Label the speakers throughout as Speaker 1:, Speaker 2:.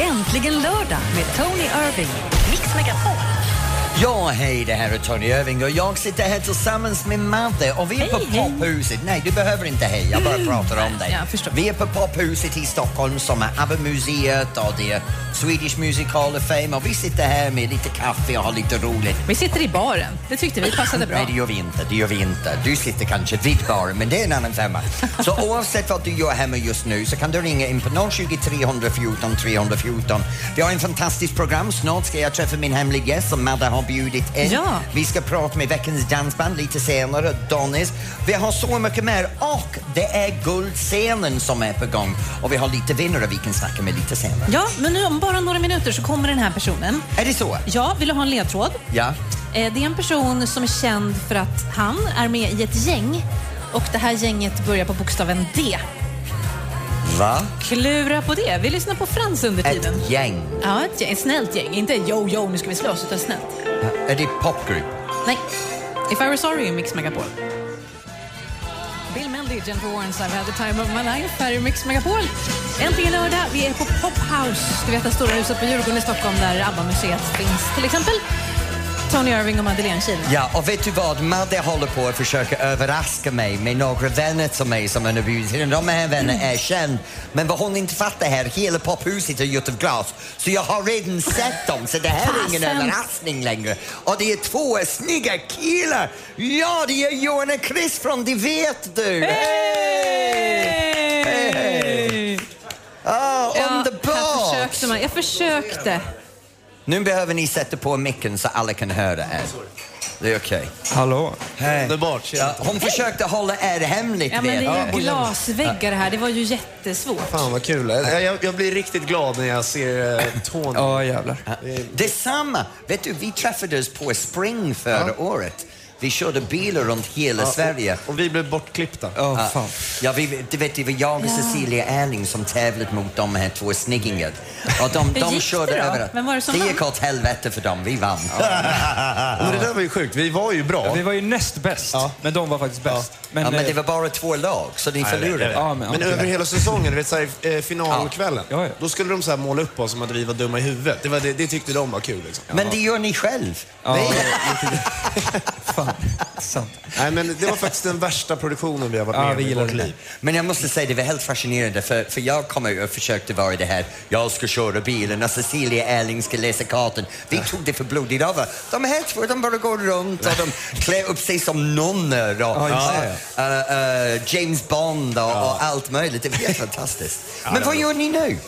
Speaker 1: Äntligen lördag med Tony Irving. Mix Megapol.
Speaker 2: Ja, hej, det här är Tony Irving och jag sitter här tillsammans med Madde och vi är på
Speaker 3: Hej, hej.
Speaker 2: Pophuset. Nej, du behöver inte hej, jag bara pratar om dig.
Speaker 3: jag förstår.
Speaker 2: Vi är på Pophuset i Stockholm som är ABBA-museet och det är Swedish Music Hall of Fame och vi sitter här med lite kaffe och har lite roligt.
Speaker 3: Vi sitter i baren. Det tyckte vi passade bra.
Speaker 2: Nej, det gör vi inte. Det gör vi inte. Du sitter kanske vid baren, men det är en annan femma. Så oavsett vad du gör hemma just nu så kan du ringa in på 020 314 314. Vi har en fantastiskt program. Snart ska jag träffa min hemliga gäst som Madde har bjudit in.
Speaker 3: Ja.
Speaker 2: Vi ska prata med veckans dansband lite senare, Donis. Vi har så mycket mer och det är guldscenen som är på gång. Och vi har lite vinnare vi kan snacka med lite senare.
Speaker 3: Ja, men nu om bara några minuter så kommer den här personen.
Speaker 2: Är det så?
Speaker 3: Ja, vill du ha en ledtråd?
Speaker 2: Ja.
Speaker 3: Eh, Det är en person som är känd för att han är med i ett gäng och det här gänget börjar på bokstaven D.
Speaker 2: Va?
Speaker 3: Klura på det. Vi lyssnar på Frans under tiden.
Speaker 2: Ett gäng.
Speaker 3: Ja, ett, gäng, ett snällt gäng. Inte yo, yo, nu ska vi slåss, utan snällt.
Speaker 2: Är det popgrupp?
Speaker 3: Nej. If I were sorry, Mix Megapol. Bill Mendy, Jennifer Warrens I've had the time of my life här i Mix Megapol. Äntligen lördag. Vi är på Pop House. Du vet det stora huset på Djurgården i Stockholm där ABBA-museet finns till exempel. Tony Irving och Madeleine Kihlman.
Speaker 2: Ja, och vet du vad? Madde håller på att försöka överraska mig med några vänner till mig som hon har bjudit in. De här vännerna är kända. Men vad hon inte fattar här, hela pophuset är gjort av glas. Så jag har redan sett dem, så det här är ingen
Speaker 3: Fasen.
Speaker 2: överraskning längre. Och det är två snygga killar! Ja, det är Johan och Chris från Det vet du! Hej! Hej! Ah,
Speaker 3: jag
Speaker 2: underbart!
Speaker 3: försökte. Man. Jag försökte.
Speaker 2: nu behöver ni sätta på micken så alla kan höra er. Det är okej.
Speaker 4: Hallå.
Speaker 2: Hej.
Speaker 5: Underbart, tjena.
Speaker 2: Ja, hon försökte hålla er hemligt.
Speaker 3: Ja, men det är
Speaker 2: vet
Speaker 3: ju
Speaker 2: du.
Speaker 3: glasväggar det här. Det var ju jättesvårt.
Speaker 5: Fan vad kul. Jag, jag, jag blir riktigt glad när jag ser eh, Tony.
Speaker 4: Ja, jävlar.
Speaker 2: Detsamma! Vet du, vi träffades på Spring förra året. Vi körde bilar runt hela Sverige.
Speaker 5: Och vi blev bortklippta.
Speaker 4: Åh,
Speaker 2: Ja.
Speaker 4: fan.
Speaker 2: Ja, vi, du vet, det var jag och Cecilia Erling som tävlat mot de här två sniggingarna. Och de,
Speaker 3: Hur
Speaker 2: de
Speaker 3: gick det
Speaker 2: körde
Speaker 3: då?
Speaker 2: överallt.
Speaker 3: Vem var det som
Speaker 2: det
Speaker 3: vann?
Speaker 2: gick åt helvete för dem, vi vann.
Speaker 5: Men det där var ju sjukt. Vi var ju bra.
Speaker 4: Vi var ju näst bäst,
Speaker 5: Ja.
Speaker 4: men de var faktiskt bäst.
Speaker 2: Ja, men det
Speaker 4: eh,
Speaker 2: var bara två lag, så ni förlorade.
Speaker 4: Ja, men,
Speaker 5: Men
Speaker 4: ja.
Speaker 5: över hela säsongen, du vet såhär eh, finalkvällen,
Speaker 4: Ja. Ja, ja.
Speaker 5: då skulle de så här måla upp oss som att vi var dumma i huvudet. Det, var, det, det tyckte de var kul liksom.
Speaker 2: Men det gör ni själv.
Speaker 4: Ja, fan, sant.
Speaker 5: Nej men det var faktiskt den värsta produktionen vi har varit
Speaker 4: Ja,
Speaker 5: med
Speaker 4: vi
Speaker 5: om i
Speaker 4: gillar
Speaker 5: vårt
Speaker 4: det.
Speaker 5: liv.
Speaker 2: Men jag måste säga, det var helt fascinerande för, för jag kom ut och försökte vara det här, jag ska köra bilen och Cecilia Erling ska läsa kartan. Vi tog det för blodigt av. De här två, de bara går runt och de klär upp sig som nunnor och
Speaker 4: just
Speaker 2: äh, äh, äh, James Bond och, och allt möjligt. Det var helt fantastiskt. Men
Speaker 5: det
Speaker 2: vad
Speaker 5: var-
Speaker 2: gör ni nu?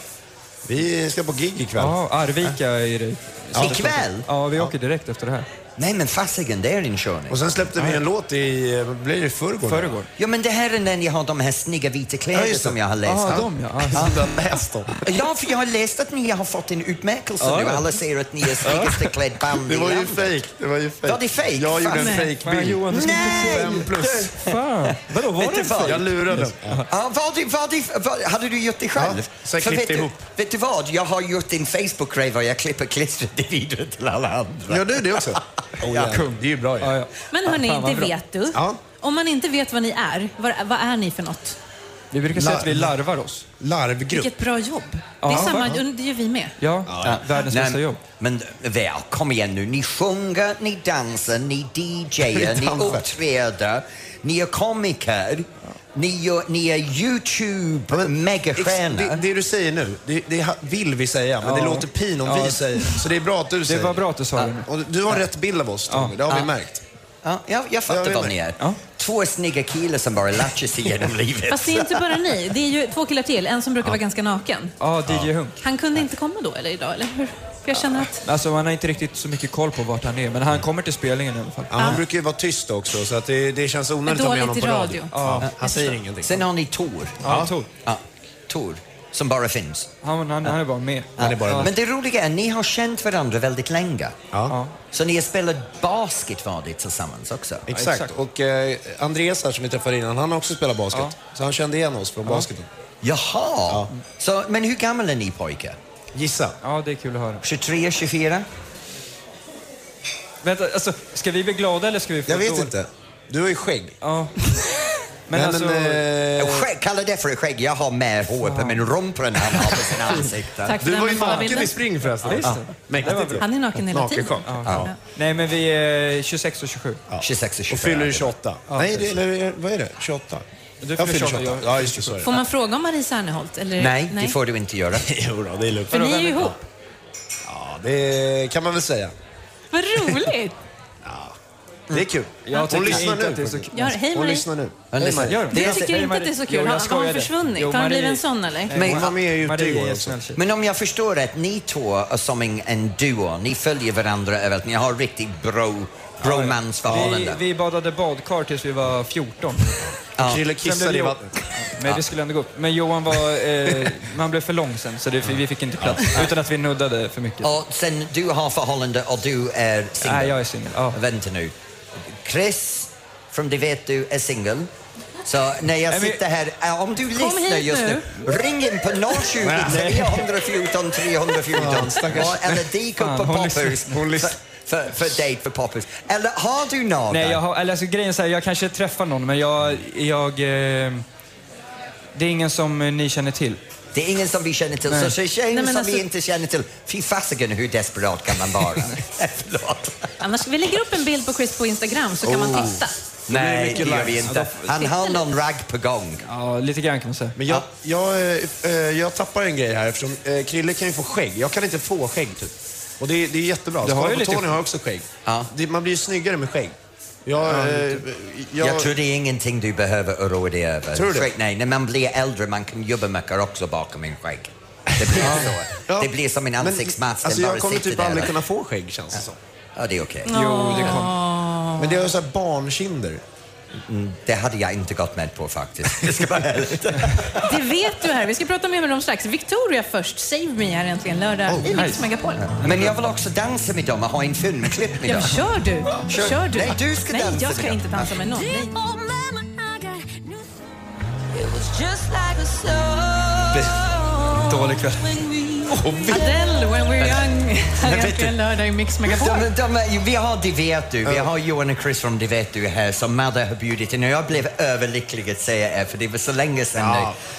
Speaker 5: Vi ska på gig ikväll.
Speaker 4: Ja, Arvika är det.
Speaker 2: Ja. Ikväll?
Speaker 4: Ja, vi åker direkt efter det här.
Speaker 2: Nej men fasiken, det är inkörning.
Speaker 5: Och sen släppte vi en låt i, eh, blir det i förrgår?
Speaker 4: Föregår.
Speaker 2: Ja men det här är när ni har de här snygga vita kläderna
Speaker 5: Ja, just det.
Speaker 2: som jag har läst
Speaker 4: Ja,
Speaker 2: om.
Speaker 4: de ja. ja.
Speaker 5: Som du har läst om.
Speaker 2: Ja, för jag har läst att ni har fått en utmärkelse
Speaker 4: Ja,
Speaker 2: nu.
Speaker 4: ja.
Speaker 2: Alla säger att ni är snyggaste klädd band
Speaker 5: Det
Speaker 2: i
Speaker 5: var ju
Speaker 2: landet.
Speaker 5: fake. Det var ju fake.
Speaker 2: Var det fake?
Speaker 5: Jag gjorde en
Speaker 2: Fan.
Speaker 4: Fan,
Speaker 5: fake-bild.
Speaker 4: Johan, du ska
Speaker 2: Nej!
Speaker 4: inte se- plus. Fan. Vadå, var
Speaker 2: Vet du
Speaker 4: det
Speaker 2: vad?
Speaker 5: Jag lurade.
Speaker 2: Ja, vad, det- vad, det- vad, hade du gjort det själv?
Speaker 5: Ja, så jag
Speaker 2: För
Speaker 5: klippte
Speaker 2: vet, du-
Speaker 5: ihop.
Speaker 2: vet du vad? Jag har gjort en Facebook-grej var jag klipper klistret vidare till alla andra.
Speaker 5: Gör du det också? Oh,
Speaker 2: ja.
Speaker 5: Kung, det är ju bra ju.
Speaker 4: Ja, ja.
Speaker 3: Men hörni,
Speaker 4: Fan, vad
Speaker 3: det
Speaker 4: bra.
Speaker 3: vet du.
Speaker 5: Ja.
Speaker 3: Om man inte vet vad ni är, vad, vad är ni för något?
Speaker 4: Vi brukar säga att vi larvar oss.
Speaker 5: Larvgrupp.
Speaker 3: Vilket bra jobb.
Speaker 4: Ja,
Speaker 3: det är samma,
Speaker 4: verkligen.
Speaker 3: det gör vi med.
Speaker 4: Ja, världens bästa jobb.
Speaker 2: Men väl, kom igen nu. Ni sjunger, ni dansar, ni DJar,
Speaker 5: Ni
Speaker 2: ni
Speaker 5: dansar.
Speaker 2: uppträder, ni är komiker, ni, gör, ni är YouTube-megastjärnor.
Speaker 5: Det, det du säger nu, det, det ha- vill vi säga, men det
Speaker 4: Ja.
Speaker 5: låter pin om
Speaker 4: Ja.
Speaker 5: vi säger Så det är bra att du
Speaker 4: Det
Speaker 5: säger
Speaker 4: var bra att du sa det nu.
Speaker 5: Och du har rätt bild av oss, Tommy. Det har vi märkt.
Speaker 2: Ja, jag, jag fattar
Speaker 5: Ja, vi
Speaker 2: vad
Speaker 5: med.
Speaker 2: ni är.
Speaker 4: Ja.
Speaker 2: Två snygga killar som bara latchar sig genom livet.
Speaker 3: Fast det är inte bara ni. Det är ju två killar till. En som brukar vara ganska naken.
Speaker 4: Ja, DJ Hunk.
Speaker 3: Han kunde inte komma då eller idag, eller hur? För jag känner att...
Speaker 4: Alltså, man har inte riktigt så mycket koll på vart han är, men
Speaker 2: Mm.
Speaker 4: han kommer till spelningen i alla fall.
Speaker 5: Ja, han brukar ju vara tyst också, så att det, det känns onödigt att ha med
Speaker 3: Dåligt
Speaker 5: honom
Speaker 3: i
Speaker 5: på radio.
Speaker 3: radio.
Speaker 5: Ja, han säger ingenting.
Speaker 2: Sen har ni Tor.
Speaker 4: Ja, Tor.
Speaker 2: Ja, Tor, som bara finns.
Speaker 4: Han, han, han är bara med.
Speaker 5: Han är bara med.
Speaker 2: Men det roliga är, ni har känt varandra väldigt länge.
Speaker 5: Ja.
Speaker 2: Så ni har spelat basket var det tillsammans också?
Speaker 5: Exakt.
Speaker 4: exakt.
Speaker 5: Och eh, Andreas här som vi träffade innan, han har också spelat basket. Så han kände igen oss från basketen.
Speaker 2: Jaha! Så, men hur gammal är ni pojkar?
Speaker 5: Gissa.
Speaker 4: Ja, det är kul att höra.
Speaker 2: 23, 24?
Speaker 4: Vänta, alltså, ska vi bli glada eller ska vi få
Speaker 5: Jag vet
Speaker 4: dåligt?
Speaker 5: inte. Du har ju skägg.
Speaker 4: Ja. Men
Speaker 5: Nej,
Speaker 4: alltså,
Speaker 5: men, eh,
Speaker 2: Skägg, kalla det för skägg. Jag har mer hår på min rumpa än han har på sina ansikten.
Speaker 3: Tack för
Speaker 6: Du
Speaker 3: den
Speaker 6: var ju
Speaker 3: mentala
Speaker 6: naken
Speaker 3: bilden.
Speaker 6: i spring förresten.
Speaker 4: Ja, just det.
Speaker 6: Mäktigt.
Speaker 4: Det var bra.
Speaker 3: Han är naken hela tiden.
Speaker 5: Nakenchock.
Speaker 2: Ja.
Speaker 4: Nej, men vi är 26 och 27.
Speaker 2: 26 och 27.
Speaker 6: Och fyller i 28.
Speaker 5: Nej, det, eller vad är det? 28?
Speaker 4: Du
Speaker 5: jag
Speaker 4: fyller 28, jag-
Speaker 5: Ja, just det. Så är det.
Speaker 3: Får man fråga om Marie Serneholt? Eller?
Speaker 2: Nej, det får du inte göra.
Speaker 6: Jo då, det är lugnt.
Speaker 3: För ni är ju ihop.
Speaker 5: Ja, det kan man väl säga.
Speaker 3: Vad roligt!
Speaker 6: Det är kul.
Speaker 4: Jag
Speaker 6: Hon
Speaker 4: tycker
Speaker 6: lyssnar
Speaker 4: inte att det är
Speaker 6: nu.
Speaker 4: så
Speaker 6: faktiskt.
Speaker 3: Ja, hej
Speaker 5: Hon
Speaker 3: Marie.
Speaker 5: lyssnar nu.
Speaker 2: Men
Speaker 5: Hej,
Speaker 2: lyssna.
Speaker 5: Marie.
Speaker 4: Gör hon?
Speaker 3: Du
Speaker 4: Nej,
Speaker 3: tycker
Speaker 4: Marie-
Speaker 3: inte att det är så
Speaker 4: Jo,
Speaker 3: kul.
Speaker 4: jag
Speaker 3: Har- har hon
Speaker 4: skojade.
Speaker 3: försvunnit?
Speaker 4: Jo,
Speaker 3: Har hon
Speaker 4: Marie-
Speaker 3: blivit en sån, eller?
Speaker 4: Nej,
Speaker 5: Men
Speaker 4: hon-
Speaker 5: var med ute
Speaker 4: Marie
Speaker 5: igår
Speaker 4: är en
Speaker 5: också.
Speaker 4: snäll tjej.
Speaker 2: Men om jag förstår rätt, ni två är som en, en duo. Ni följer varandra överallt. Ni har riktigt bro,
Speaker 4: vi,
Speaker 2: bromance-förhållande.
Speaker 4: vi badade badkar tills vi var 14.
Speaker 6: Krille kissade i
Speaker 4: blev
Speaker 6: vattnet.
Speaker 4: Men vi skulle ändå gå upp. Men Johan var... Eh, man blev för lång sen, så det, vi fick inte plats. Utan att vi nuddade för mycket.
Speaker 2: Och sen du har förhållande och du är singel.
Speaker 4: Nej, jag är singel. Ja.
Speaker 2: Vänta nu. Chris, från Det vet du, är singel. Så när jag
Speaker 4: Nej, men-
Speaker 2: sitter här, eh, om du lyssnar
Speaker 3: hit
Speaker 2: just nu, ring in på 020 314 314 Och- eller dik upp
Speaker 4: Fan,
Speaker 2: på
Speaker 4: hon
Speaker 2: Poppers
Speaker 4: lyssnar. Hon
Speaker 2: för,
Speaker 4: lyssnar.
Speaker 2: för, för dejt på Poppers. Eller har du någon?
Speaker 4: Nej, jag har, eller alltså, grejen är så här, jag kanske träffar någon, men jag... jag eh, det är ingen som eh, ni känner till.
Speaker 2: Det är ingen som vi känner till. Så
Speaker 3: Nej,
Speaker 2: tjejer
Speaker 3: men
Speaker 2: som vi
Speaker 3: alltså-
Speaker 2: inte känner till, fy fasiken hur desperat kan man vara? Förlåt.
Speaker 3: Annars, vi lägger upp en bild på Chris på Instagram så kan man titta.
Speaker 2: Nej, det gör vi
Speaker 6: likes.
Speaker 5: Alltså,
Speaker 2: inte. Han har någon ragg på gång.
Speaker 4: Ja, lite grann kan man säga. Men
Speaker 5: Men jag, jag, eh, eh, jag tappar en grej här eftersom eh, Krille kan ju få skägg. Jag kan inte få skägg typ. Och det, är- det är jättebra.
Speaker 4: Du har
Speaker 5: Skara
Speaker 4: ju
Speaker 5: på
Speaker 4: lite
Speaker 5: Tony
Speaker 4: skägg.
Speaker 5: har också skägg.
Speaker 2: Ja.
Speaker 5: Det, man blir ju snyggare med skägg. Jag, eh, jag,
Speaker 2: Jag tror det är ingenting du behöver oroa dig över.
Speaker 5: Tror du?
Speaker 2: Skägg, nej, när man blir äldre man kan jobba mycket också bakom en skägg. Det blir så.
Speaker 5: Ja.
Speaker 2: Det blir som en
Speaker 5: Men,
Speaker 2: ansiktsmask.
Speaker 5: Alltså,
Speaker 2: den
Speaker 5: jag
Speaker 2: bara
Speaker 5: kommer
Speaker 2: sitter
Speaker 5: typ
Speaker 2: där.
Speaker 5: aldrig kunna få skägg känns det som.
Speaker 2: Ja, det är okej.
Speaker 4: jo, det kom.
Speaker 3: Ah.
Speaker 5: Men det är ju så här barnkinder.
Speaker 2: Det hade jag inte gått med på faktiskt. Jag ska vara ärlig.
Speaker 3: Det vet du här. Vi ska prata mer med dem strax. Victoria först. Save Me här äntligen lördag i Mix
Speaker 4: nice.
Speaker 3: Megapol.
Speaker 2: Men jag vill också dansa med dem och ha en filmklipp med
Speaker 3: Ja,
Speaker 2: dem.
Speaker 3: men kör du! Kör,
Speaker 2: Kör-
Speaker 3: du!
Speaker 2: Nej, du ska
Speaker 3: Nej,
Speaker 2: dansa
Speaker 3: jag
Speaker 2: med
Speaker 3: ska
Speaker 2: dem.
Speaker 3: inte dansa med någon. Nej.
Speaker 4: Dålig kväll.
Speaker 3: Adele, When We're Young, här
Speaker 2: vet
Speaker 3: äntligen
Speaker 2: du-
Speaker 3: lördag i Mix Megapol.
Speaker 2: De, de, de, vi har Det vet du. Vi har Johan och Chris från Det vet du här som Madde har bjudit in. Och jag blev överlycklig att säga er, för det var så länge sedan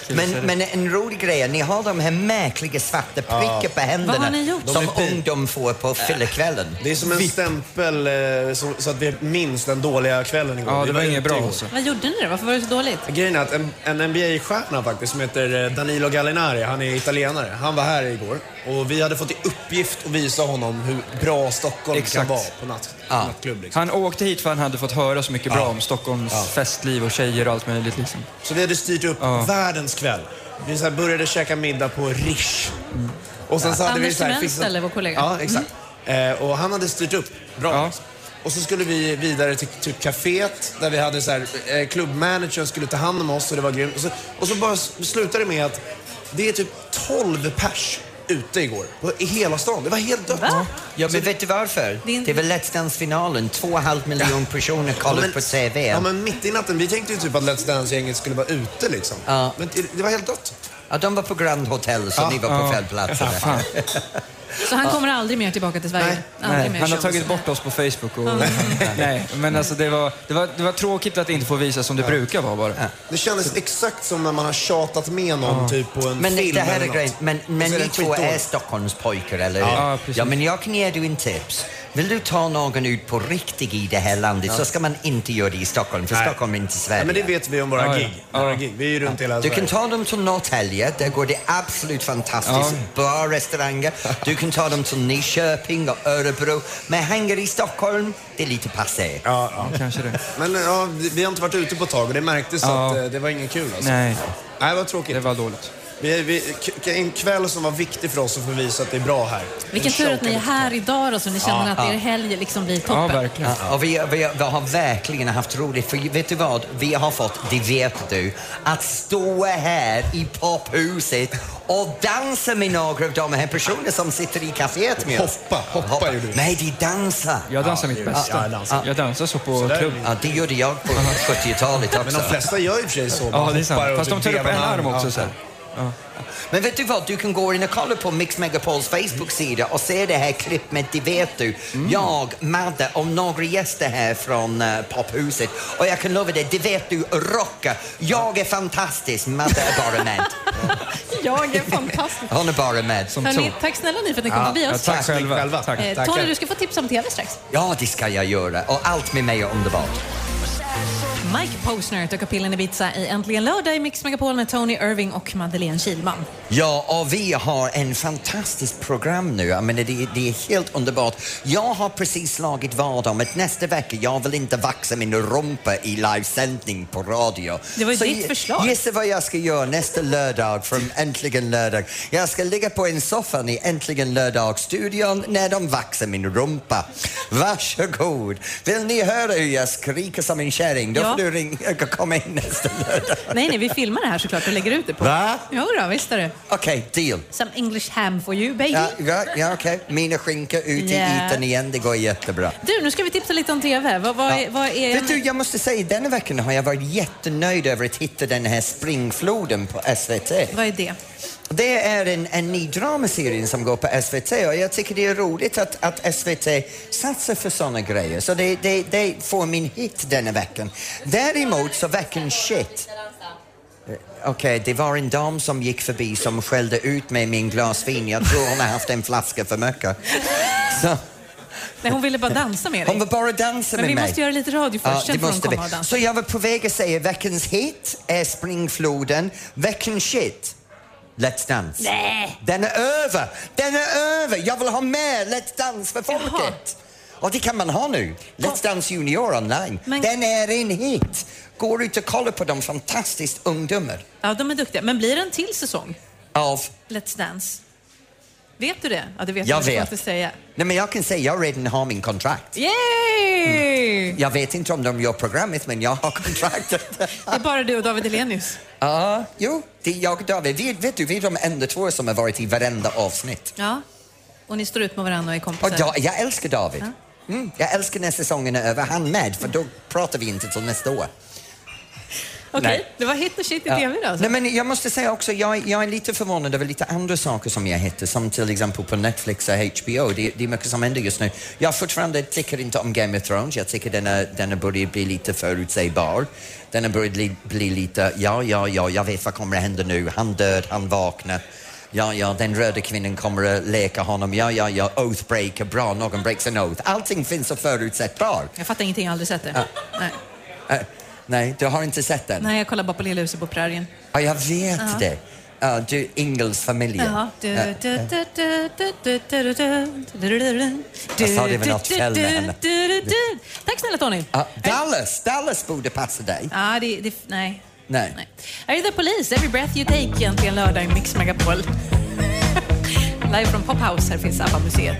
Speaker 2: nu. Men, men en rolig grej är, ni har de här märkliga svarta prickar på
Speaker 3: Vad har
Speaker 2: händerna
Speaker 3: ni gjort?
Speaker 2: som
Speaker 5: De är fin.
Speaker 2: ungdom får på fyllekvällen.
Speaker 5: Det är som en stämpel eh, så, så att vi minns den dåliga kvällen igår.
Speaker 4: Ja,
Speaker 5: Vi
Speaker 4: det var
Speaker 5: ute
Speaker 4: inget bra alltså.
Speaker 5: igår.
Speaker 4: också.
Speaker 3: Vad gjorde ni då? Varför var det så dåligt?
Speaker 5: Grejen är att en, en NBA-stjärna faktiskt som heter eh, Danilo Gallinari, han är italienare. Han var här igår och vi hade fått i uppgift att visa honom hur bra Stockholm kan
Speaker 4: Exakt.
Speaker 5: vara på natt,
Speaker 2: Ja.
Speaker 5: nattklubb. Liksom.
Speaker 4: Han åkte hit för han hade fått höra så mycket bra om Stockholms festliv och tjejer och allt möjligt. Liksom.
Speaker 5: Så vi hade styrt upp världens kväll. Vi så här började käka middag på Rish. Och sen så hade
Speaker 3: Anders
Speaker 5: vi så här
Speaker 3: Timell ställer vår kollega. Mm.
Speaker 5: Ja, exakt. Eh, och han hade styrt upp bra.
Speaker 4: Ja.
Speaker 5: liksom. Och så skulle vi vidare till, till caféet där vi hade så här, eh, klubbmanagern skulle ta hand om oss och det var grymt. Och så, och så bara s- slutade det med att det är typ 12 pers ute igår. På, I hela stan. Det var helt dött.
Speaker 3: Va?
Speaker 2: Ja, men vet du varför?
Speaker 3: Det är inte-
Speaker 2: Det är väl Let's Dance-finalen. Två och en halv miljon personer kollar på TV.
Speaker 5: ja, men mitt i natten. Vi tänkte ju typ att Let's Dance-gänget skulle vara ute liksom.
Speaker 2: Ja.
Speaker 5: Men det, det var helt dött.
Speaker 2: Ja, de var på Grand Hotel, så ni var på fel plats.
Speaker 4: Fan.
Speaker 3: Så han kommer aldrig mer tillbaka till Sverige?
Speaker 5: Nej.
Speaker 3: Aldrig
Speaker 4: Nej,
Speaker 3: mer
Speaker 4: han har
Speaker 3: känns
Speaker 4: tagit
Speaker 3: det.
Speaker 4: bort oss på Facebook. Och, nej, men alltså det var, det, var, det var tråkigt att det inte får visas som det brukar vara bara.
Speaker 5: Det kändes exakt som när man har tjatat med någon typ på en
Speaker 2: Men
Speaker 5: film
Speaker 2: det här
Speaker 5: eller
Speaker 2: är grejen.
Speaker 5: något.
Speaker 2: Men,
Speaker 5: Och
Speaker 2: men
Speaker 5: så är
Speaker 2: ni
Speaker 5: den
Speaker 2: två
Speaker 5: skitdålig.
Speaker 2: är Stockholmspojkar, eller hur?
Speaker 4: Ja, precis.
Speaker 2: men jag kan ge dig en tips. Vill du ta någon ut på riktigt i det här landet så ska man inte göra det i Stockholm, för
Speaker 5: Nej.
Speaker 2: Stockholm är inte Sverige.
Speaker 5: Ja, men det vet vi om våra
Speaker 4: Ja, ja.
Speaker 5: gig. Våra
Speaker 4: Ja.
Speaker 5: gig. Vi är ju runt hela
Speaker 2: Du
Speaker 5: Sverige.
Speaker 2: kan ta dem till Norrtälje, där går det absolut fantastiskt. Bra restauranger. Du kan ta dem till Nyköping och Örebro. Men hänger i Stockholm, det är lite passé.
Speaker 5: Ja, ja.
Speaker 4: Kanske det.
Speaker 5: Men ja, vi- vi har inte varit ute på ett tag och det märktes
Speaker 4: Ja.
Speaker 5: att eh, det var ingen kul alltså.
Speaker 4: Nej,
Speaker 5: Nej, vad
Speaker 4: det
Speaker 5: tråkigt.
Speaker 4: var dåligt.
Speaker 5: Vi, vi, k- k- en kväll som var viktig för oss att få visa att det är bra här.
Speaker 3: Vilken tur att ni är här idag då, så ni känner att
Speaker 2: ja.
Speaker 3: er helg liksom blir toppen.
Speaker 4: Ja, verkligen.
Speaker 2: Ja, Och vi, vi, vi har verkligen haft roligt, för vet du vad? Vi har fått, det vet du, att stå här i pophuset och dansa med några av de här personerna som sitter i kaféet med oss.
Speaker 5: Hoppa, hoppa gjorde du.
Speaker 2: Nej, vi dansar. Ja.
Speaker 4: Jag dansar mitt bästa.
Speaker 5: Ja, jag dansar.
Speaker 4: Jag dansar så på
Speaker 5: Sådär.
Speaker 4: klubb.
Speaker 2: det gjorde jag på 70-talet också.
Speaker 5: Men de flesta gör ju i och för sig så.
Speaker 4: Ja,
Speaker 5: Man
Speaker 4: det är sant.
Speaker 5: hoppar och
Speaker 4: Fast de
Speaker 5: typ
Speaker 4: tar upp
Speaker 5: vevar
Speaker 4: en
Speaker 5: med
Speaker 4: arm
Speaker 5: armen.
Speaker 4: också
Speaker 5: Ja.
Speaker 4: så här.
Speaker 2: Men vet du vad, du kan gå in och kolla på Mix Megapols Facebook-sida och se det här klippet, det vet du. Jag, Madde och några gäster här från eh, pophuset. Och jag kan lova dig, det vet du, rocka. Jag är fantastisk, Madde är bara med.
Speaker 3: Jag är fantastisk.
Speaker 2: Hon är bara med.
Speaker 4: Som
Speaker 3: Hörrni,
Speaker 4: tur.
Speaker 3: tack snälla ni för att ni kom förbi
Speaker 4: Ja,
Speaker 3: oss.
Speaker 4: tack själva.
Speaker 5: själva.
Speaker 4: Tack.
Speaker 3: Eh, Tony, du ska få tips om tv strax.
Speaker 2: Ja, det ska jag göra. Och allt med mig är underbart.
Speaker 3: Mike Posner tog upp pillen i Ibiza i Äntligen lördag i Mix Megapol med Tony Irving och Madeleine Kilman.
Speaker 2: Ja, och vi har en fantastisk program nu. Jag menar, det, det är helt underbart. Jag har precis slagit vad om att nästa vecka, jag vill inte vaxa min rumpa i livesändning på radio.
Speaker 3: Det var ju
Speaker 2: Så
Speaker 3: ditt
Speaker 2: gi-
Speaker 3: förslag.
Speaker 2: Gissa vad jag ska göra nästa lördag från Äntligen lördag. Jag ska ligga på en soffa i Äntligen lördag-studion när de vaxar min rumpa. Varsågod! Vill ni höra hur jag skriker som en kärring? Då
Speaker 3: Ja.
Speaker 2: får du ringa, komma in nästa lördag.
Speaker 3: Nej, nej, vi filmar det här såklart och lägger ut det på...
Speaker 2: Va?
Speaker 3: Jo då, visst är det.
Speaker 2: Okej, deal.
Speaker 3: Some English ham for you, baby.
Speaker 2: Ja, ja, ja okej. Mina skinka ut
Speaker 3: Ja.
Speaker 2: i ytan igen, det går jättebra.
Speaker 3: Du, nu ska vi tipsa lite om TV. Vad, vad, är, vad är...
Speaker 2: Vet du, jag måste säga, denna veckan har jag varit jättenöjd över att hitta den här springfloden på SVT.
Speaker 3: vad är det?
Speaker 2: Det är en, en ny dramaserie som går på SVT och jag tycker det är roligt att, att SVT satsar för sådana grejer. Så det, det, det får min hit denna veckan. Däremot så veckan shit. Eh, Okej, det var en dam som gick förbi som skällde ut mig med min glasvin. Jag tror hon har haft en flaska för mycket. Så,
Speaker 3: Nej, hon ville bara dansa med dig.
Speaker 2: hon vill bara dansa
Speaker 3: Men
Speaker 2: med
Speaker 3: vi
Speaker 2: mig.
Speaker 3: måste göra lite radio först, sen
Speaker 2: det
Speaker 3: får hon
Speaker 2: måste
Speaker 3: komma
Speaker 2: vi.
Speaker 3: och dansa.
Speaker 2: Så jag var på väg att säga veckans hit är Springfloden, veckans shit Let's Dance.
Speaker 3: Nej.
Speaker 2: Den är över! Den är över! Jag vill ha med Let's Dance för folket!
Speaker 3: Jaha.
Speaker 2: Och det kan man ha nu. Let's Dance Junior online.
Speaker 3: Men-
Speaker 2: Den är en hit! Går ut och kollar på de fantastiskt ungdomar.
Speaker 3: Ja, de är duktiga. Men blir det en till säsong,
Speaker 2: Av...
Speaker 3: Let's Dance? Vet du det? Ja, det vet
Speaker 2: Jag
Speaker 3: du. Det får
Speaker 2: vet.
Speaker 3: inte säga.
Speaker 2: Nej men jag kan säga, jag redan har min kontrakt.
Speaker 3: Yay!
Speaker 2: Jag vet inte om de gör programmet men jag har kontraktet.
Speaker 3: Det är bara du och David Hellenius.
Speaker 2: Ja, jo, det är jag och David. Vi, vet du, vi är de enda två som har varit i varenda avsnitt.
Speaker 3: Ja. Och ni står ut med varandra och är
Speaker 2: Och
Speaker 3: kompisar.
Speaker 2: da, jag älskar David. Mm, jag älskar när säsongen är över. Han med, för då pratar vi inte till nästa år.
Speaker 3: Okej,
Speaker 2: Nej.
Speaker 3: det var hit och shit i tv då. Alltså.
Speaker 2: Nej, men jag måste säga också, jag, jag är lite förvånad över lite andra saker som jag hittar, som till exempel på Netflix och HBO. Det, det är mycket som händer just nu. Jag fortfarande tycker inte om Game of Thrones. Jag tycker den har- den har börjat bli lite förutsägbar. Den har börjat bli, bli lite, ja, ja, ja, jag vet vad kommer att hända nu. Han död, han vaknar. Ja, ja, den röda kvinnan kommer att leka honom. Ja, ja, ja, oathbreaker, bra, någon breaks an oath. Allting finns så förutsättbart.
Speaker 3: Jag fattar ingenting, jag har aldrig sett det. Nej.
Speaker 2: Eh, nej, du har inte sett den?
Speaker 3: Nej, jag kollar bara på Lilla huset på prärien.
Speaker 2: Ja, jag vet det. Ja, du, Ingels familjen.
Speaker 3: Jaha. Du,
Speaker 2: Ja.
Speaker 3: du, du, du, du, du, du, du, du, du, du, du.
Speaker 2: Jag sa det väl
Speaker 3: Du,
Speaker 2: något
Speaker 3: du,
Speaker 2: fel med
Speaker 3: du,
Speaker 2: henne.
Speaker 3: du, du, du. Tack snälla Tony.
Speaker 2: Ja, Dallas, Dallas borde passa dig.
Speaker 3: Ja, det, det, nej.
Speaker 2: Nej.
Speaker 3: Här är The Police, Every Breath You Take, äntligen lördag i Mix Megapol. Live från Pop House, här finns ABBA-museet.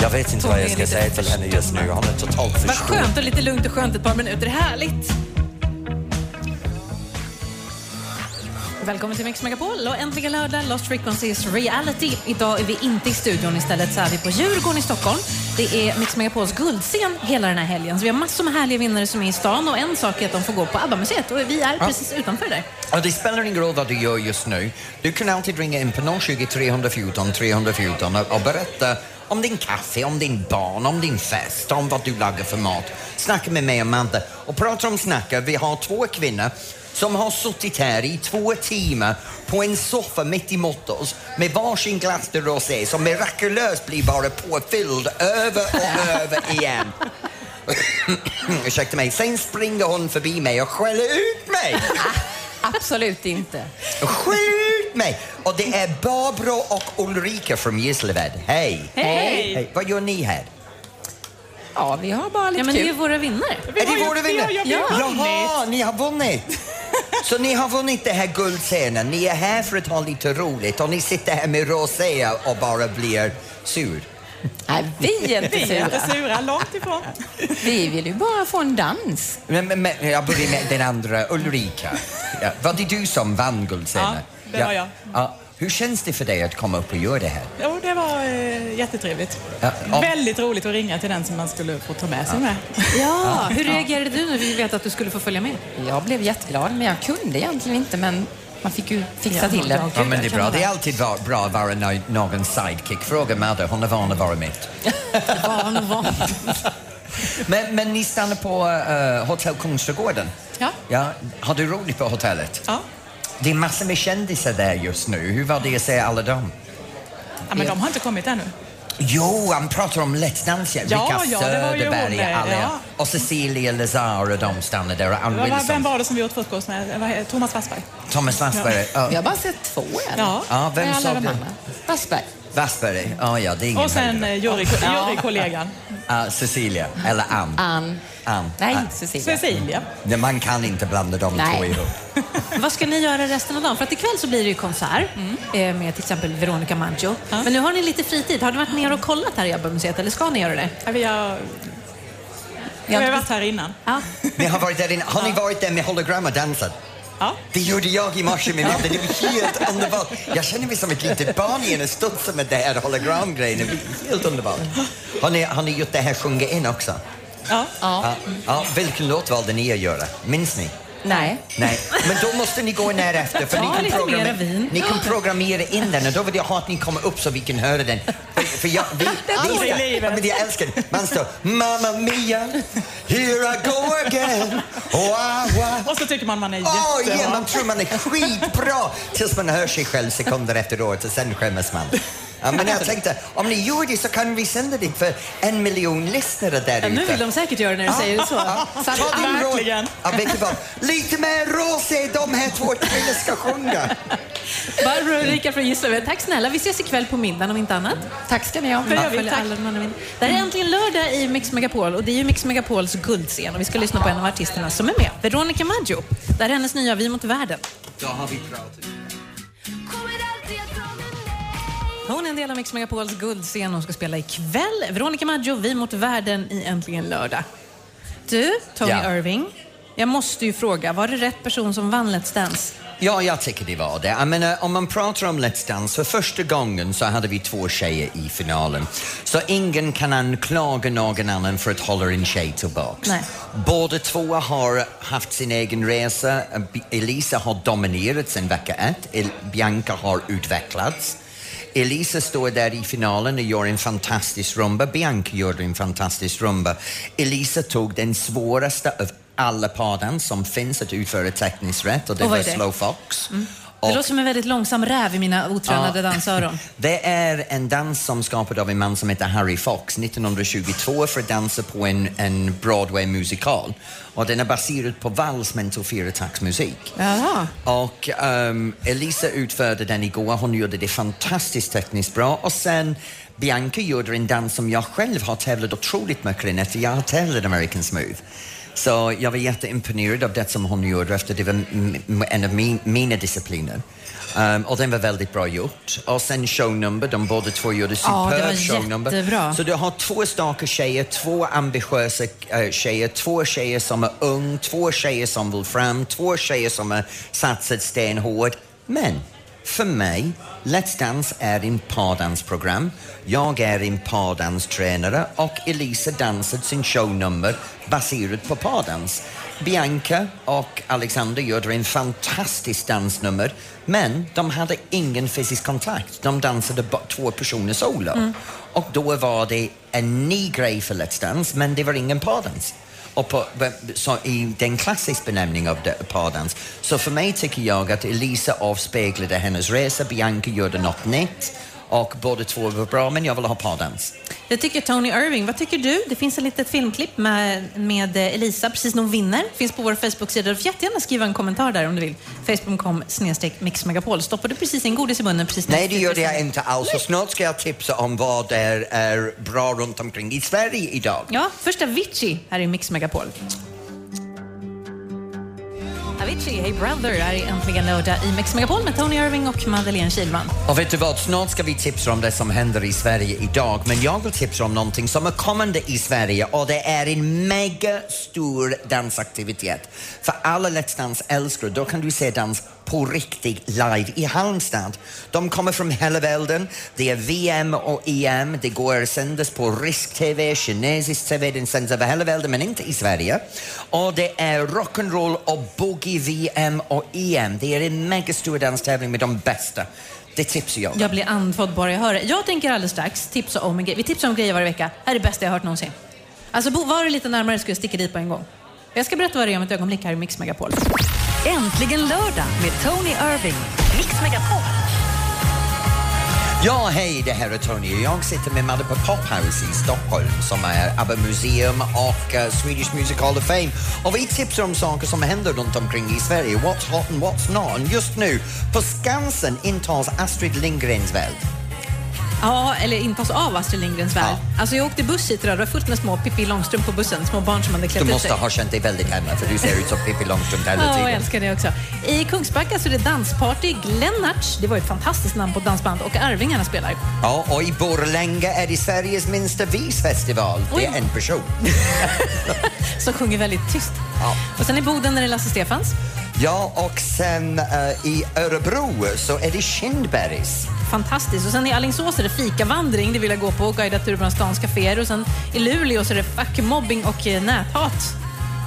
Speaker 2: Jag vet inte vad jag
Speaker 3: Hon är
Speaker 2: ska
Speaker 3: lite
Speaker 2: säga till henne just nu. Hon är totalt
Speaker 3: Vad
Speaker 2: förstörd.
Speaker 3: skönt och lite lugnt och skönt ett par minuter. Härligt! Välkommen till Mix Megapol och äntligen lördag Lost Frequencies Reality. Idag är vi inte i studion, istället så är vi på Djurgården i Stockholm. Det är Mix Megapols guldscen hela den här helgen. Så vi har massor med härliga vinnare som är i stan och en sak är att de får gå på ABBA-museet och vi är precis utanför där.
Speaker 2: Och det spelar ingen roll vad du gör just nu. Du kan alltid ringa in på 020 314 314 och, och berätta om din kaffe, om din barn, om din fest, om vad du lagar för mat. Snacka med mig och Madde. Och prata om snacka, vi har två kvinnor som har suttit här i två timmar på en soffa mitt emot oss med varsin glass de rosé som mirakulöst blir bara påfylld över och över igen. Ursäkta mig, sen springer hon förbi mig och skäller ut mig.
Speaker 3: Absolut inte.
Speaker 2: Skjut mig! Och det är Barbro och Ulrika från Gislaved. Hej!
Speaker 3: Hej!
Speaker 2: Hej. Vad gör ni här?
Speaker 7: Ja, vi har bara lite
Speaker 3: Ja, men det är ju
Speaker 7: kul.
Speaker 3: våra vinnare.
Speaker 2: är det våra vinnare?
Speaker 3: Ja.
Speaker 2: Jaha, ni har vunnit! Så ni har vunnit det här guldscenen. Ni är här för att ha lite roligt och ni sitter här med rosé och bara blir sur.
Speaker 7: Nej, vi är inte
Speaker 8: Vi är inte
Speaker 7: sura.
Speaker 8: sura, långt ifrån.
Speaker 7: Vi vill ju bara få en dans.
Speaker 2: Men, men, men, jag börjar med den andra, Ulrika. Ja. Var det du som vann guldscenen?
Speaker 8: Ja, det var jag.
Speaker 2: Ja. Hur känns det för dig att komma upp och göra det här?
Speaker 8: Jo, det var eh, jättetrevligt.
Speaker 2: Ja, ja.
Speaker 8: Väldigt roligt att ringa till den som man skulle få ta med sig med.
Speaker 3: Ja, hur reagerade du när vi vet att du skulle få följa med?
Speaker 7: Jag blev jätteglad, men jag kunde egentligen inte. Men Man fick ju fixa
Speaker 8: Ja,
Speaker 7: till det.
Speaker 8: ja,
Speaker 2: Ja,
Speaker 8: gud,
Speaker 2: men det är
Speaker 8: jag
Speaker 2: bra.
Speaker 8: kan
Speaker 2: Det är
Speaker 8: vara-
Speaker 2: alltid va- bra att vara nå- någon sidekick. Fråga Madde, hon är van att vara mitt.
Speaker 3: Van och van.
Speaker 2: Men, men ni stannar på eh, Hotell Kungsträdgården?
Speaker 8: Ja.
Speaker 2: ja. Har du roligt på hotellet?
Speaker 8: Ja.
Speaker 2: Det är massor med kändisar där just nu. Hur var det att se alla dem?
Speaker 8: ja, men de har inte kommit ännu.
Speaker 2: Jo, han pratar om Let's Dance.
Speaker 8: Ja,
Speaker 2: Vilka
Speaker 8: ja, det var ju hon
Speaker 2: Söderberg
Speaker 8: där,
Speaker 2: alla.
Speaker 8: ja.
Speaker 2: Och Cecilia Lazar och de stannar där. Och Ann
Speaker 8: Vad var- Vem
Speaker 2: Wilson.
Speaker 8: var det som vi åt frukost med? Det var Thomas Wassberg.
Speaker 2: Thomas Wassberg. Ja.
Speaker 7: Vi har bara sett två än.
Speaker 8: Ja.
Speaker 2: Ja, vem
Speaker 7: Med alla
Speaker 2: sa
Speaker 7: de
Speaker 2: det?
Speaker 7: andra. Wassberg.
Speaker 2: Wassberg. Ja, ja, det är ingen
Speaker 8: Och sen
Speaker 2: höjdare.
Speaker 8: eh, jury-
Speaker 7: Ja.
Speaker 8: jurykollegan
Speaker 2: Ja, Ah, Cecilia. Eller Ann.
Speaker 7: Ann.
Speaker 2: Ann.
Speaker 7: Nej,
Speaker 2: Ann.
Speaker 7: Cecilia.
Speaker 8: Cecilia.
Speaker 2: Nej, man kan inte blanda de
Speaker 7: Nej.
Speaker 2: två ihop.
Speaker 3: Vad ska ni göra resten av dagen? För att ikväll så blir det ju konsert
Speaker 7: Mm.
Speaker 3: eh, med till exempel Veronica Maggio. Men nu har ni lite fritid. Har ni varit ner och kollat här i Abbemuseet eller ska ni göra det?
Speaker 8: Ja, Vi har, vi
Speaker 7: Jag
Speaker 8: har
Speaker 7: har
Speaker 8: ju
Speaker 7: inte
Speaker 8: varit här innan.
Speaker 3: Ja.
Speaker 2: Ni har varit där inne. Har ni varit där med hologram och dansat?
Speaker 8: Ja.
Speaker 2: Det gjorde jag i morse med Madde. Det var helt underbart. Jag känner mig som ett litet barn igen och studsar med det här hologramgrejen. Det blir helt underbart. Har ni, har ni gjort det här sjunga in också?
Speaker 8: Ja.
Speaker 2: Ja. ja. Vilken låt valde ni att göra? Minns ni?
Speaker 7: Nej.
Speaker 2: Nej, men då måste ni gå in här efter för
Speaker 3: Ja,
Speaker 2: ni,
Speaker 3: lite
Speaker 2: kan
Speaker 3: mera
Speaker 2: programmera,
Speaker 3: vin.
Speaker 2: ni kan programmera in den och då vill jag ha att ni kommer upp så vi kan höra den. För, för jag, vi, vi
Speaker 8: tror jag.
Speaker 2: ska, ja, men jag älskar den. Man står Mamma Mia, here I go again. Wow, wow.
Speaker 8: Och så tycker man man är
Speaker 2: Åh,
Speaker 8: jättebra.
Speaker 2: ja, man tror man är skitbra tills man hör sig själv sekunder efteråt och sen skämmes man. Ja, men jag tänkte, om ni gör det så kan vi sända det för en miljon lyssnare där
Speaker 3: Nu vill
Speaker 2: ute.
Speaker 3: de säkert göra det när du säger det så. så att
Speaker 2: Ta din
Speaker 3: alla-
Speaker 2: roll.
Speaker 8: verkligen.
Speaker 2: Ja, vet du vad? Lite mer rosé de här två kvinnorna ska sjunga.
Speaker 3: Barbro och Ulrika från Gislaved, tack snälla. Vi ses ikväll på middagen om inte annat.
Speaker 7: Tack ska ni ha.
Speaker 3: Ja,
Speaker 8: gör vi.
Speaker 3: följ
Speaker 8: Tack.
Speaker 3: alla de andra med. Det här är äntligen lördag i Mix Megapol och det är ju Mix Megapols guldscen och vi ska lyssna på en av artisterna som är med, Veronica Maggio. Det här är hennes nya Vi mot världen.
Speaker 2: Då har vi pratat.
Speaker 3: Hon är en del av Mix Megapols guldscen. Hon ska spela ikväll. Veronica Maggio, Vi mot världen i Äntligen lördag. Du, Tony
Speaker 2: Ja.
Speaker 3: Irving. Jag måste ju fråga, var det rätt person som vann Let's Dance?
Speaker 2: Ja, jag tycker det var det. Jag menar, om man pratar om Let's Dance, för första gången så hade vi två tjejer i finalen. Så ingen kan anklaga någon annan för att hålla en tjej tillbaks.
Speaker 3: Nej.
Speaker 2: Båda två har haft sin egen resa. Elisa har dominerat sen vecka ett. El- Bianca har utvecklats. Elisa står där i finalen och gör en fantastisk rumba. Bianca gjorde en fantastisk rumba. Elisa tog den svåraste av alla pardans som finns att utföra tekniskt rätt och det
Speaker 3: Och vad
Speaker 2: var
Speaker 3: är det?
Speaker 2: slow fox.
Speaker 3: Mm. Det
Speaker 2: Och
Speaker 3: låter som en väldigt långsam räv i mina otränade dansöron.
Speaker 2: det är en dans som skapades av en man som heter Harry Fox 1922 för att dansa på en, en Broadway-musikal. Och den är baserad på vals men till fyrataktsmusik.
Speaker 3: Jaha.
Speaker 2: Och ehm, Elisa utförde den igår. Hon gjorde det fantastiskt tekniskt bra. Och sen Bianca gjorde en dans som jag själv har tävlat otroligt mycket i efter jag har tävlat American Smooth. Så jag var jätteimponerad av det som hon gjorde efter det var m- m- en av min, mina discipliner. Ehm, och den var väldigt bra gjort. Och sen shownummer, de båda två gjorde
Speaker 3: Ja, det
Speaker 2: superb
Speaker 3: var
Speaker 2: shownummer.
Speaker 3: jättebra.
Speaker 2: Så du har två starka tjejer, två ambitiösa eh, tjejer, två tjejer som är ung, två tjejer som vill fram, två tjejer som har satsat stenhårt. Men för mig, Let's Dance är en pardansprogram. Jag är en pardanstränare och Elisa dansade sin shownummer baserat på pardans. Bianca och Alexander gjorde en fantastisk dansnummer men de hade ingen fysisk kontakt. De dansade bara två personer solo. Och då var det en ny grej för Let's Dance, men det var ingen pardans. Och på, eh, så i den klassiska benämningen av det- pardans. Så för mig tycker jag att Elisa avspeglade hennes resa, Bianca gjorde något nytt och båda två var bra, men jag vill ha pardans.
Speaker 3: Det tycker Tony Irving. Vad tycker du? Det finns ett litet filmklipp med, med eh, Elisa precis när hon vinner. Finns på vår Facebook-sida. Du får jättegärna skriva en kommentar där om du vill. Facebook.com snedstreck mixmegapol. Stoppar du precis in godis i munnen precis när
Speaker 2: Nej, det
Speaker 3: du
Speaker 2: gjorde jag
Speaker 3: lyssnar?
Speaker 2: inte alls. Och snart ska jag tipsa om vad det är, är bra runt omkring i Sverige idag.
Speaker 3: Ja, först Avicii här i Mix Megapol. Avicii, Hey Brother, här är äntligen lördag i Mix Megapol med Tony Irving och Madeleine Kilman.
Speaker 2: Och vet du vad, snart ska vi tipsa om det som händer i Sverige idag. Men jag vill tipsa om någonting som är kommande i Sverige och det är en mega stor dansaktivitet. För alla Let's Dance-älskare, då kan du se dans på riktigt live i Halmstad. De kommer från hela världen. Det är VM och EM. Det går sändas på rysk TV, kinesisk TV. Den sänds över hela världen men inte i Sverige. Och det är rock'n'roll och boogie VM och EM. Det är en mycket stor danstävling med de bästa. Det tipsar jag om.
Speaker 3: Jag blir andfådd bara jag hör det. Jag tänker alldeles strax tipsa om en grej. Vi tipsar om grejer varje vecka. Det här är det bästa jag har hört någonsin. Alltså, bo- var du lite närmare skulle jag sticka dit på en gång. Jag ska berätta vad det är om ett ögonblick här i Mix Megapol.
Speaker 1: Äntligen lördag med Tony Irving. Mix Megapol.
Speaker 2: Ja, hej, det här är Tony. Jag sitter med Madde på Pophouse i Stockholm som är ABBA Museum och eh, Swedish Music Hall of Fame. Och vi tipsar om saker som händer runt omkring i Sverige. What's hot and what's not. Och just nu, på Skansen intas Astrid Lindgrens värld.
Speaker 3: Ja, eller intas av Astrid Lindgrens värld.
Speaker 2: Ja.
Speaker 3: Alltså, jag åkte buss hit idag. Det var fullt med små Pippi Långstrump på bussen. Små barn som hade klätt
Speaker 2: Du
Speaker 3: ut
Speaker 2: måste
Speaker 3: sig.
Speaker 2: ha känt dig väldigt hemma för du ser ut som Pippi Långstrump hela
Speaker 3: Ja, jag
Speaker 2: tiden.
Speaker 3: älskar det också. I Kungsbacka så är det dansparty. Glennarts, det var ju ett fantastiskt namn på ett dansband, och Arvingarna spelar.
Speaker 2: Ja, och i Borlänge är det Sveriges minsta visfestival. Det är
Speaker 3: Oj.
Speaker 2: en person.
Speaker 3: Som sjunger väldigt tyst.
Speaker 2: Ja.
Speaker 3: Och sen i Boden är det Lasse Stefans.
Speaker 2: Ja, och sen eh, i Örebro så är det Kindbergs.
Speaker 3: Fantastiskt. Och sen i Alingsås är det fikavandring, det vill jag gå på, och guida tur bland stans kaféer. Och sen i Luleå så är det fuckmobbing och eh, näthat.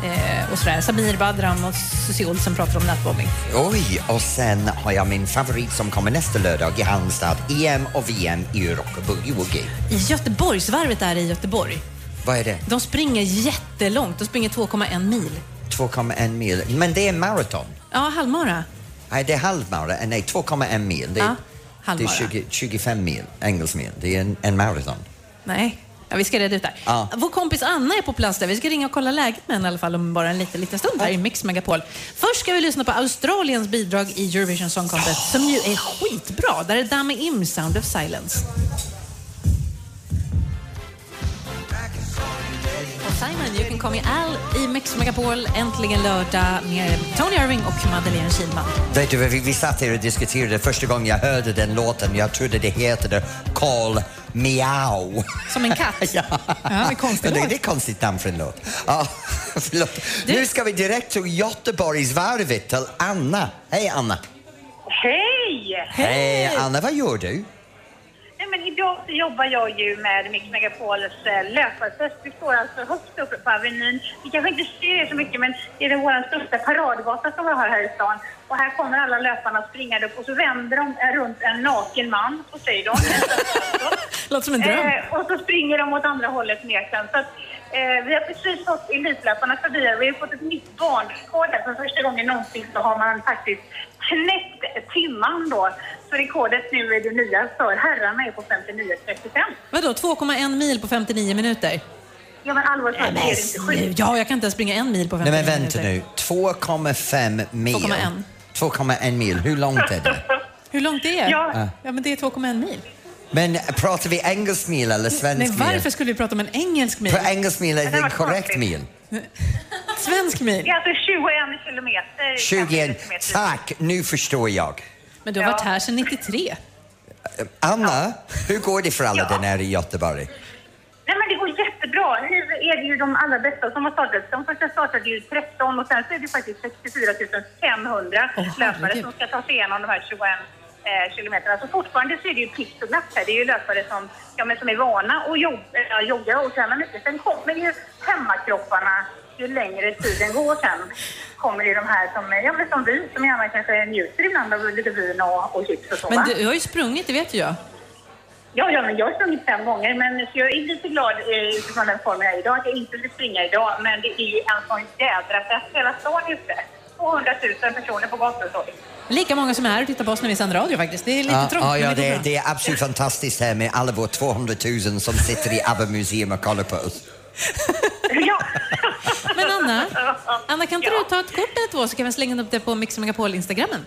Speaker 3: Eh, och sådär. Samir Badran och Susie Olsson pratar om nätmobbing.
Speaker 2: Oj, och sen har jag min favorit som kommer nästa lördag i Halmstad. EM och VM i rock och boogie-woogie.
Speaker 3: I Göteborgsvarvet är det i Göteborg.
Speaker 2: Vad är det?
Speaker 3: De springer jättelångt, de springer 2,1 mil.
Speaker 2: 2,1 mil. Men det är maraton.
Speaker 3: Ja, halvmara.
Speaker 2: Nej, det är halvmara. Nej, 2,1 mil. Det är,
Speaker 3: Ja,
Speaker 2: det är
Speaker 3: halvmara.
Speaker 2: 20, 25 mil, engelsk mil. Det är en, en maraton.
Speaker 3: Nej. Ja, vi ska reda ut det här.
Speaker 2: Ja.
Speaker 3: Vår kompis Anna är på plats där. Vi ska ringa och kolla läget med henne i alla fall om bara en liten, liten stund här i Mix Megapol. Först ska vi lyssna på Australiens bidrag i Eurovision Song Contest som ju är skitbra. Där är Dame Im, Sound of Silence. Och Simon, You Can Call Me Al i Mix Megapol. Äntligen lördag med Tony Irving och Madeleine Kihlman.
Speaker 2: Vet du, vi, vi satt här och diskuterade det första gången jag hörde den låten. Jag trodde det heter Call Meow.
Speaker 3: Som en katt.
Speaker 2: Ja,
Speaker 3: det är konstigt.
Speaker 2: det, det är konstigt namn för en låt. Ja, förlåt. Nu ska vi direkt till Göteborgsvarvet till Anna. Hej Anna!
Speaker 9: Hej!
Speaker 2: Hej Anna, vad gör du?
Speaker 9: Nej, men idag så jobbar jag ju med Mix Megapols eh, löparfest. Vi står alltså högst uppe på Avenyn. Ni kanske inte ser det så mycket, men det är vår största paradgata som vi har här i stan. Och här kommer alla löparna springande upp och så vänder de eh, runt en naken man, Poseidon.
Speaker 3: Låter som en dröm.
Speaker 9: Eh, och så springer de åt andra hållet ner sen. Så att, eh, vi har precis fått Elitlöparna förbi här. Vi har fått ett nytt barnrekord här. För första gången någonsin så har man faktiskt knäckt timman då. Så rekordet nu är det nya för herrarna är på 59.35.
Speaker 3: Vadå, 2,1 mil på 59 minuter?
Speaker 9: Ja men allvarligt talat, det är inte
Speaker 3: Nu,
Speaker 9: sjukt.
Speaker 3: ja, jag kan inte ens springa en mil på 59
Speaker 2: Nej men vänta
Speaker 3: minuter.
Speaker 2: nu, 2,5 mil.
Speaker 3: 2,1.
Speaker 2: 2,1 mil, hur långt är det?
Speaker 3: Hur långt det är?
Speaker 9: Ja.
Speaker 3: Ja. men det är 2,1 mil.
Speaker 2: Men pratar vi engelsk mil eller svensk
Speaker 3: Nej,
Speaker 2: mil?
Speaker 3: varför skulle vi prata om en engelsk mil?
Speaker 2: För engelsk mil är det en
Speaker 9: var
Speaker 2: korrekt
Speaker 9: konstigt.
Speaker 2: mil.
Speaker 3: Svensk
Speaker 9: Det
Speaker 3: mil?
Speaker 9: är alltså 21 kilometer.
Speaker 2: 21.
Speaker 9: kilometer.
Speaker 2: Tack, nu förstår jag.
Speaker 3: Men du har varit här sedan 93.
Speaker 2: Anna, hur går det för alla
Speaker 9: Ja.
Speaker 2: den här i Göteborg?
Speaker 9: Nej men det går jättebra. Nu är det ju de allra bästa som har startat. De första startade ju 13 och sen så är det faktiskt 64 500
Speaker 3: Åh, herregud.
Speaker 9: löpare som ska ta sig igenom de här 21 eh, kilometerna. Så fortfarande så är det ju pikt och glapp här. Det är ju löpare som, ja, men som är vana att jobba, ja, jogga och träna mycket. Sen kommer ju hemmakropparna ju längre tiden går sen kommer det ju de här som, ja, men som vi, som gärna kanske njuter ibland av lite vin och, och chips och så. va?
Speaker 3: Men du har ju sprungit, det vet ju jag.
Speaker 9: Ja, ja, men jag har sprungit fem gånger, men så jag är lite glad eh, utifrån den formen jag är idag att jag inte vill springa idag, men det är ju en sån jädra fest hela stan är ute. 200 000 personer på gator och torg.
Speaker 3: Lika många som är här och tittar på oss när vi sänder radio faktiskt. Det är lite
Speaker 2: Ja,
Speaker 3: trångt,
Speaker 2: ja,
Speaker 3: men
Speaker 2: ja, det,
Speaker 3: bra.
Speaker 2: det är absolut fantastiskt här med alla våra 200 000 som sitter i ABBA Museum och kollar på oss.
Speaker 9: Ja.
Speaker 3: Men Anna, Anna kan inte
Speaker 9: ja.
Speaker 3: du ta ett kort eller två så kan vi slänga upp det på Mix Megapol-instagrammen?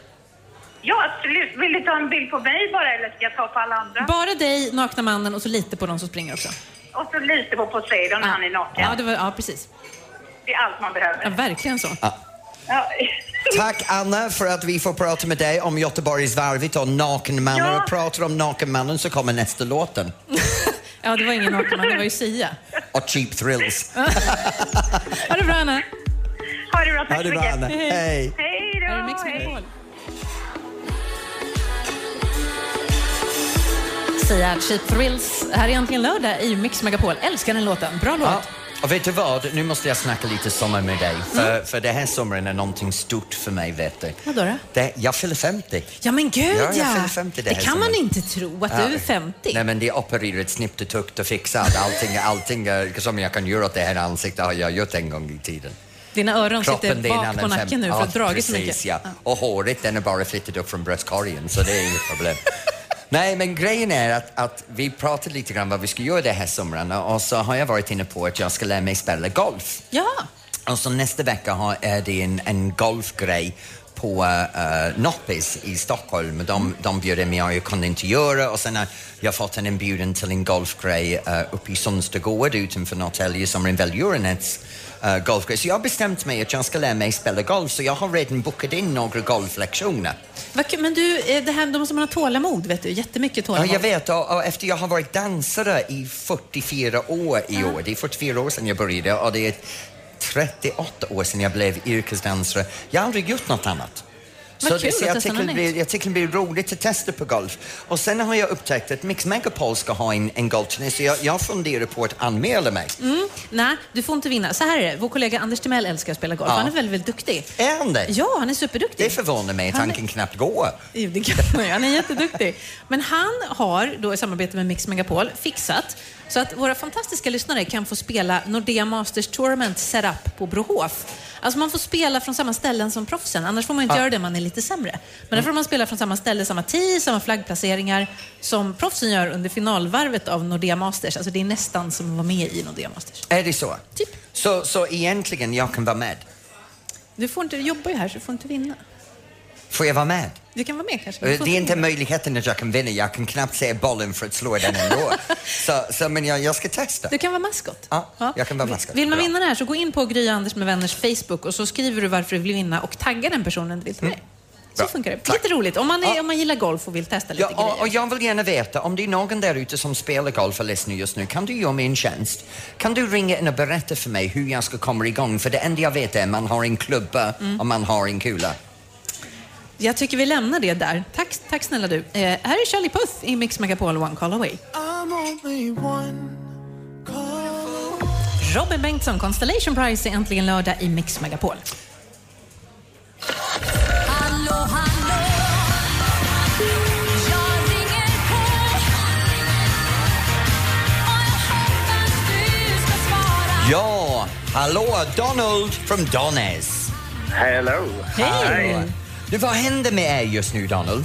Speaker 9: Ja, absolut. Vill du ta en bild på mig bara eller ska jag ta på alla andra?
Speaker 3: Bara dig, nakna mannen och så lite på de som springer också.
Speaker 9: Och så lite på Poseidon när han är naken.
Speaker 3: Ja, det var, ja precis.
Speaker 9: Det är allt man
Speaker 3: Ja,
Speaker 9: behöver.
Speaker 3: verkligen så.
Speaker 9: Ja.
Speaker 2: Tack Anna för att vi får prata med dig om Göteborgsvarvet och nakenmannen.
Speaker 9: Ja.
Speaker 2: Och pratar om nakenmannen så kommer nästa låten.
Speaker 3: Ja, det var ingen nakna man, det var ju Sia.
Speaker 2: Och Cheap Thrills.
Speaker 3: Ha det bra Anna.
Speaker 9: Ha det bra,
Speaker 2: Ha
Speaker 9: tack så
Speaker 2: det bra
Speaker 9: mycket.
Speaker 2: Anna. Hej.
Speaker 9: Hej då!
Speaker 3: Här är Mix
Speaker 9: hej.
Speaker 3: Megapol. Sia, Cheap Thrills. Här är äntligen lördag i Mix Megapol. Älskar den låten. Bra låt.
Speaker 2: Ja, Och vet du vad, nu måste jag snacka lite sommar med dig. För, för det här sommaren är någonting stort för mig, vet du.
Speaker 3: Vadå då?
Speaker 2: Det, jag fyller 50.
Speaker 3: Ja men gud
Speaker 2: Ja,
Speaker 3: ja!
Speaker 2: jag fyller 50 det
Speaker 3: det
Speaker 2: här
Speaker 3: kan man
Speaker 2: sommaren.
Speaker 3: inte tro att du är 50.
Speaker 2: Nej, men det är opererat, snippt och tukt och fixat. Allting, allting eh, som jag kan göra åt det här ansiktet har jag gjort en gång i tiden.
Speaker 3: Dina öron
Speaker 2: Kroppen
Speaker 3: sitter
Speaker 2: det är en
Speaker 3: bak på
Speaker 2: annan
Speaker 3: nacken nu för
Speaker 2: ja,
Speaker 3: att ha dragit så
Speaker 2: precis,
Speaker 3: mycket.
Speaker 2: Ja. Och håret den är bara flyttat upp från bröstkorgen så det är inget problem. Nej, men grejen är att, att vi pratade lite grann vad vi ska göra det här sommaren och så har jag varit inne på att jag ska lära mig spela golf.
Speaker 3: Ja,
Speaker 2: Och så Alltså, nästa vecka har, är det en, en golfgrej på uh, Noppis i Stockholm. De, de bjöd in mig och jag kunde inte göra och sen har jag fått en inbjudan till en golfgrej eh, uppe i Sundstagård utanför Norrtälje som är en välgörenhets eh, golfgrej. Så jag har bestämt mig att jag ska lära mig spela golf så jag har redan bokat in några golflektioner.
Speaker 3: Vad kul. Men du, eh, det här, då måste man ha tålamod vet du. Jättemycket
Speaker 2: Ja,
Speaker 3: tålamod.
Speaker 2: jag vet. Och, och efter jag har varit dansare i 44 år i år. Det är 44 år sedan jag började och det är 38 år sedan jag blev yrkesdansare. Jag har aldrig gjort något annat.
Speaker 3: Vad kul att
Speaker 2: jag,
Speaker 3: testa
Speaker 2: tycker det
Speaker 3: något
Speaker 2: blir, jag tycker det blir roligt att testa på golf. Och sen har jag upptäckt att Mix Megapol ska ha en, en golfturné så jag, jag funderar på att anmäla mig.
Speaker 3: Mm, nej, du får inte vinna. Så här är det. Vår kollega Anders Timell älskar att spela golf.
Speaker 2: Ja.
Speaker 3: Han är väldigt, väldigt duktig.
Speaker 2: Är han det?
Speaker 3: Ja, han är superduktig.
Speaker 2: Det förvånar mig att
Speaker 3: Han-
Speaker 2: tanken knappt går.
Speaker 3: Jo, det kan man ju. Han är jätteduktig. Men han har då i samarbete med Mix Megapol fixat så att våra fantastiska lyssnare kan få spela Nordea Masters Tournament Setup på Brohof. Alltså man får spela från samma ställen som proffsen, annars får man ju inte göra det om man är lite sämre. Men
Speaker 2: Mm.
Speaker 3: där får man spela från samma ställe, samma tid, samma flaggplaceringar som proffsen gör under finalvarvet av Nordea Masters. Alltså det är nästan som att vara med i Nordea Masters.
Speaker 2: Är det så?
Speaker 3: Typ.
Speaker 2: Så, så egentligen, jag kan vara med.
Speaker 3: Du får inte, du jobbar ju här så du får inte vinna.
Speaker 2: Får jag vara med?
Speaker 3: Du kan vara med kanske. men du
Speaker 2: Eh, Det
Speaker 3: får
Speaker 2: är inte
Speaker 3: vinna.
Speaker 2: möjligheten att jag kan vinna. Jag kan knappt se bollen för att slå den ändå. så, så, men jag, jag ska testa.
Speaker 3: Du kan vara maskot.
Speaker 2: Ja, jag kan vara maskot.
Speaker 3: Vill man
Speaker 2: Bra.
Speaker 3: vinna det här så gå in på Gry Anders med vänners Facebook och så skriver du varför du vill vinna och taggar den personen du vill till mig. Så
Speaker 2: Mm. Bra.
Speaker 3: funkar det.
Speaker 2: Tack.
Speaker 3: Lite roligt. Om man, är,
Speaker 2: Ja.
Speaker 3: om man gillar golf och vill testa lite
Speaker 2: Ja, och,
Speaker 3: grejer.
Speaker 2: och jag vill gärna veta, om det är någon där ute som spelar golf och lyssnar just nu, kan du göra mig en tjänst? Kan du ringa in och berätta för mig hur jag ska komma igång? För det enda jag vet är man har en klubba
Speaker 3: Mm.
Speaker 2: och man har en kula.
Speaker 3: Jag tycker vi lämnar det där. Tack, tack snälla du. Eh, här är Charlie Puth i Mix Megapol One Call Away. Robin Bengtsson, Constellation Prize, är äntligen lördag i Mix Megapol.
Speaker 10: Hallå, hallå Jag ringer på Och jag hoppas du ska svara
Speaker 2: Ja, hallå Donald från Donnes.
Speaker 11: Hello.
Speaker 3: Hej!
Speaker 2: Du, vad händer med er just nu Donald?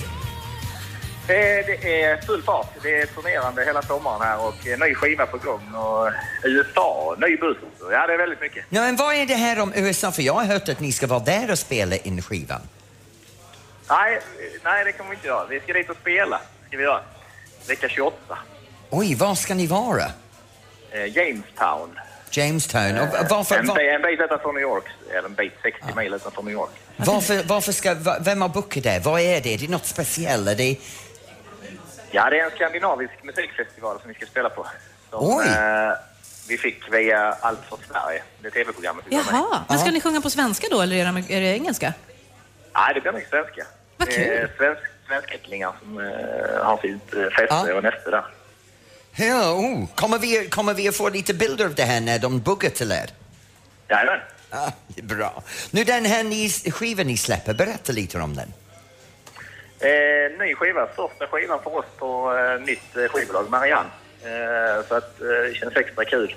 Speaker 11: Eh, Det är full fart. Det är turnerande hela sommaren här och eh, ny skiva på gång och USA, ny buss. Ja, det är väldigt mycket.
Speaker 2: Ja, men vad är det här om USA? För jag har hört att ni ska vara där och spela in skivan.
Speaker 11: Nej, eh, nej det kommer vi inte göra. Vi ska dit och spela. Ska vi göra. Vecka 28.
Speaker 2: Oj, var ska ni vara?
Speaker 11: Eh, Jamestown.
Speaker 2: Jamestown. Och varför, Ah.
Speaker 11: en,
Speaker 2: var,
Speaker 11: bi- en bit utanför New York. Eller en bit 60 mil utanför New York.
Speaker 2: varför, varför ska, va- vem har bokat det? Vad är det? Är det något speciellt? Är det,
Speaker 11: Ja, det är en skandinavisk musikfestival som vi ska spela på. Som,
Speaker 2: Oj.
Speaker 11: eh, vi fick via Allt för Sverige, det tv-programmet vi var med i.
Speaker 3: Jaha, men ska ni sjunga på svenska då eller är det, amer- är det engelska?
Speaker 11: Nej, det blir nog svenska.
Speaker 3: Vad
Speaker 11: Det är
Speaker 3: kul.
Speaker 11: Svensk, svenskättlingar som eh, har sitt eh, fäste
Speaker 2: Ja.
Speaker 11: och näste där.
Speaker 2: ja, oh. kommer, vi, kommer vi att få lite bilder av det här när de bokar till er?
Speaker 11: Jajamän.
Speaker 2: Ah, det är bra. Nu den här ni, skivan ni släpper, berätta lite om den.
Speaker 11: Eh, ny skiva, första skivan för oss på eh, nytt eh, skivbolag, Marianne. Eh, så att eh, det känns extra kul.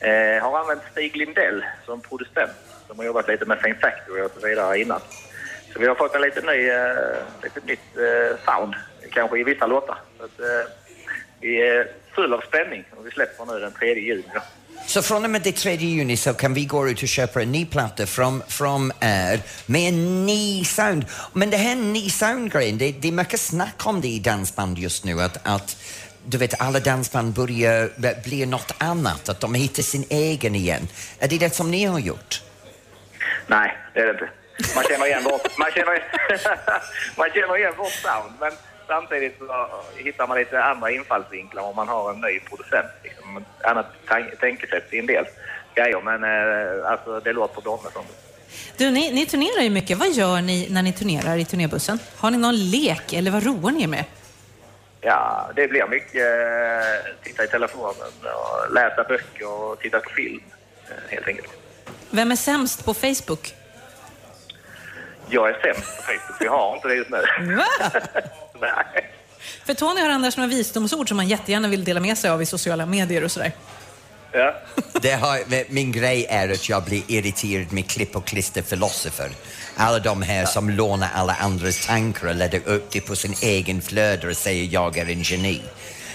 Speaker 11: Eh, har använt Stig Lindell som producent. som har jobbat lite med Fame Factory och så vidare innan. Så vi har fått en lite ny, eh, lite nytt eh, sound, kanske i vissa låtar. Så att, eh, vi är full av spänning och vi släpper nu den 3 juni. då.
Speaker 2: Så från och med det 3 juni så kan vi gå ut och köpa en ny platta från, från er med en ny sound. Men det här ny sound-grejen, det, det är mycket snack om det i dansband just nu att, att du vet, alla dansband börjar b- bli något annat, att de hittar sin egen igen. Är det det som ni har gjort?
Speaker 11: Nej, det är det inte. Man känner igen vårt, man känner, man känner igen vårt sound, men samtidigt så hittar man lite andra infallsvinklar om man har en ny producent. Liksom, ett annat tan- tänkesätt i en del grejer, men eh, alltså, det låter Donne som.
Speaker 3: Du, ni, ni turnerar ju mycket. Vad gör ni när ni turnerar i turnébussen? Har ni någon lek eller vad roar ni er med?
Speaker 11: Ja, det blir mycket eh, titta i telefonen och läsa böcker och titta på film. eh, helt enkelt.
Speaker 3: Vem är sämst på Facebook?
Speaker 11: Jag är sämst på Facebook, så jag har inte det just nu.
Speaker 3: Mm. Va?
Speaker 11: Nej.
Speaker 3: För Tony har annars några visdomsord som han jättegärna vill dela med sig av i sociala medier och sådär.
Speaker 11: Ja.
Speaker 2: Det har, min grej är att jag blir irriterad med klipp och klister filosofer. Alla de här som lånar alla andras tankar och lägger upp det på sin egen flöde och säger jag är en geni.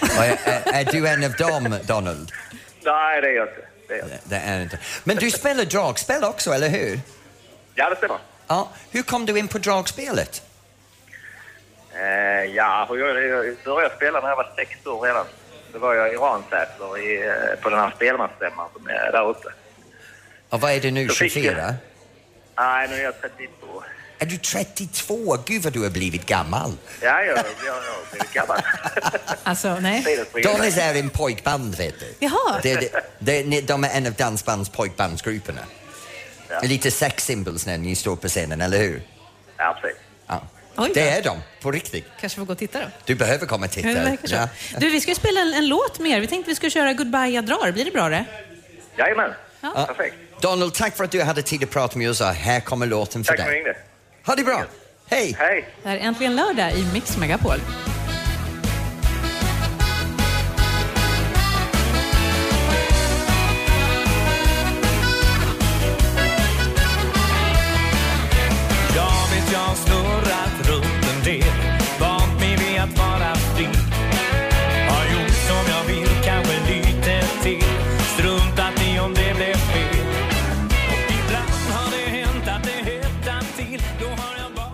Speaker 2: Och är, är, är du en av dem, Donald?
Speaker 11: Nej, det är jag inte. Det är jag inte.
Speaker 2: Det är inte. Men du spelar dragspel också, eller hur?
Speaker 11: Ja, det stämmer.
Speaker 2: Ja. Hur kom du in på dragspelet?
Speaker 11: Eh, ja, och jag jag började spela när jag var sex år redan. Då var jag i Ransäter i, eh, på den här spelmansstämman som är där uppe.
Speaker 2: Och vad är det nu,
Speaker 11: Jag fick det.
Speaker 2: 24?
Speaker 11: Nej, nu är jag 32.
Speaker 2: Är du 32? Gud vad du har blivit gammal.
Speaker 11: Ja, jag, jag, jag har blivit gammal.
Speaker 3: Alltså, nej.
Speaker 11: Tiden springer
Speaker 2: Donis
Speaker 11: iväg.
Speaker 2: är en pojkband, vet du.
Speaker 3: Jaha.
Speaker 2: Det, det, det, ni- de är en av dansbands pojkbandsgrupperna.
Speaker 11: Ja.
Speaker 2: Lite sex symbols när ni står på scenen, eller hur?
Speaker 11: Ja, precis.
Speaker 2: Ja.
Speaker 3: Oj,
Speaker 2: det
Speaker 3: ja.
Speaker 2: är de, på riktigt.
Speaker 3: Kanske får gå och titta då.
Speaker 2: Du behöver komma och titta.
Speaker 3: Det verkar så.
Speaker 2: Ja.
Speaker 3: Du, vi ska ju spela en, en låt mer. Vi tänkte vi skulle köra Goodbye jag drar. Blir det bra det?
Speaker 11: Jajamän.
Speaker 3: Ja.
Speaker 11: Perfekt.
Speaker 2: Donald, tack för att du hade tid att prata med oss. Här kommer låten för
Speaker 11: Tack för att du
Speaker 2: dig.
Speaker 11: ringde.
Speaker 2: Ha det bra. Hej!
Speaker 11: Hej.
Speaker 3: Det här är Äntligen lördag i Mix Megapol.
Speaker 12: Jag vet jag har snurrat runt en del Vant mig vid att vara fri Har gjort som jag vill, kanske lite till Struntat i om det blev fel Och ibland har det hänt att det hettat till Då har jag bara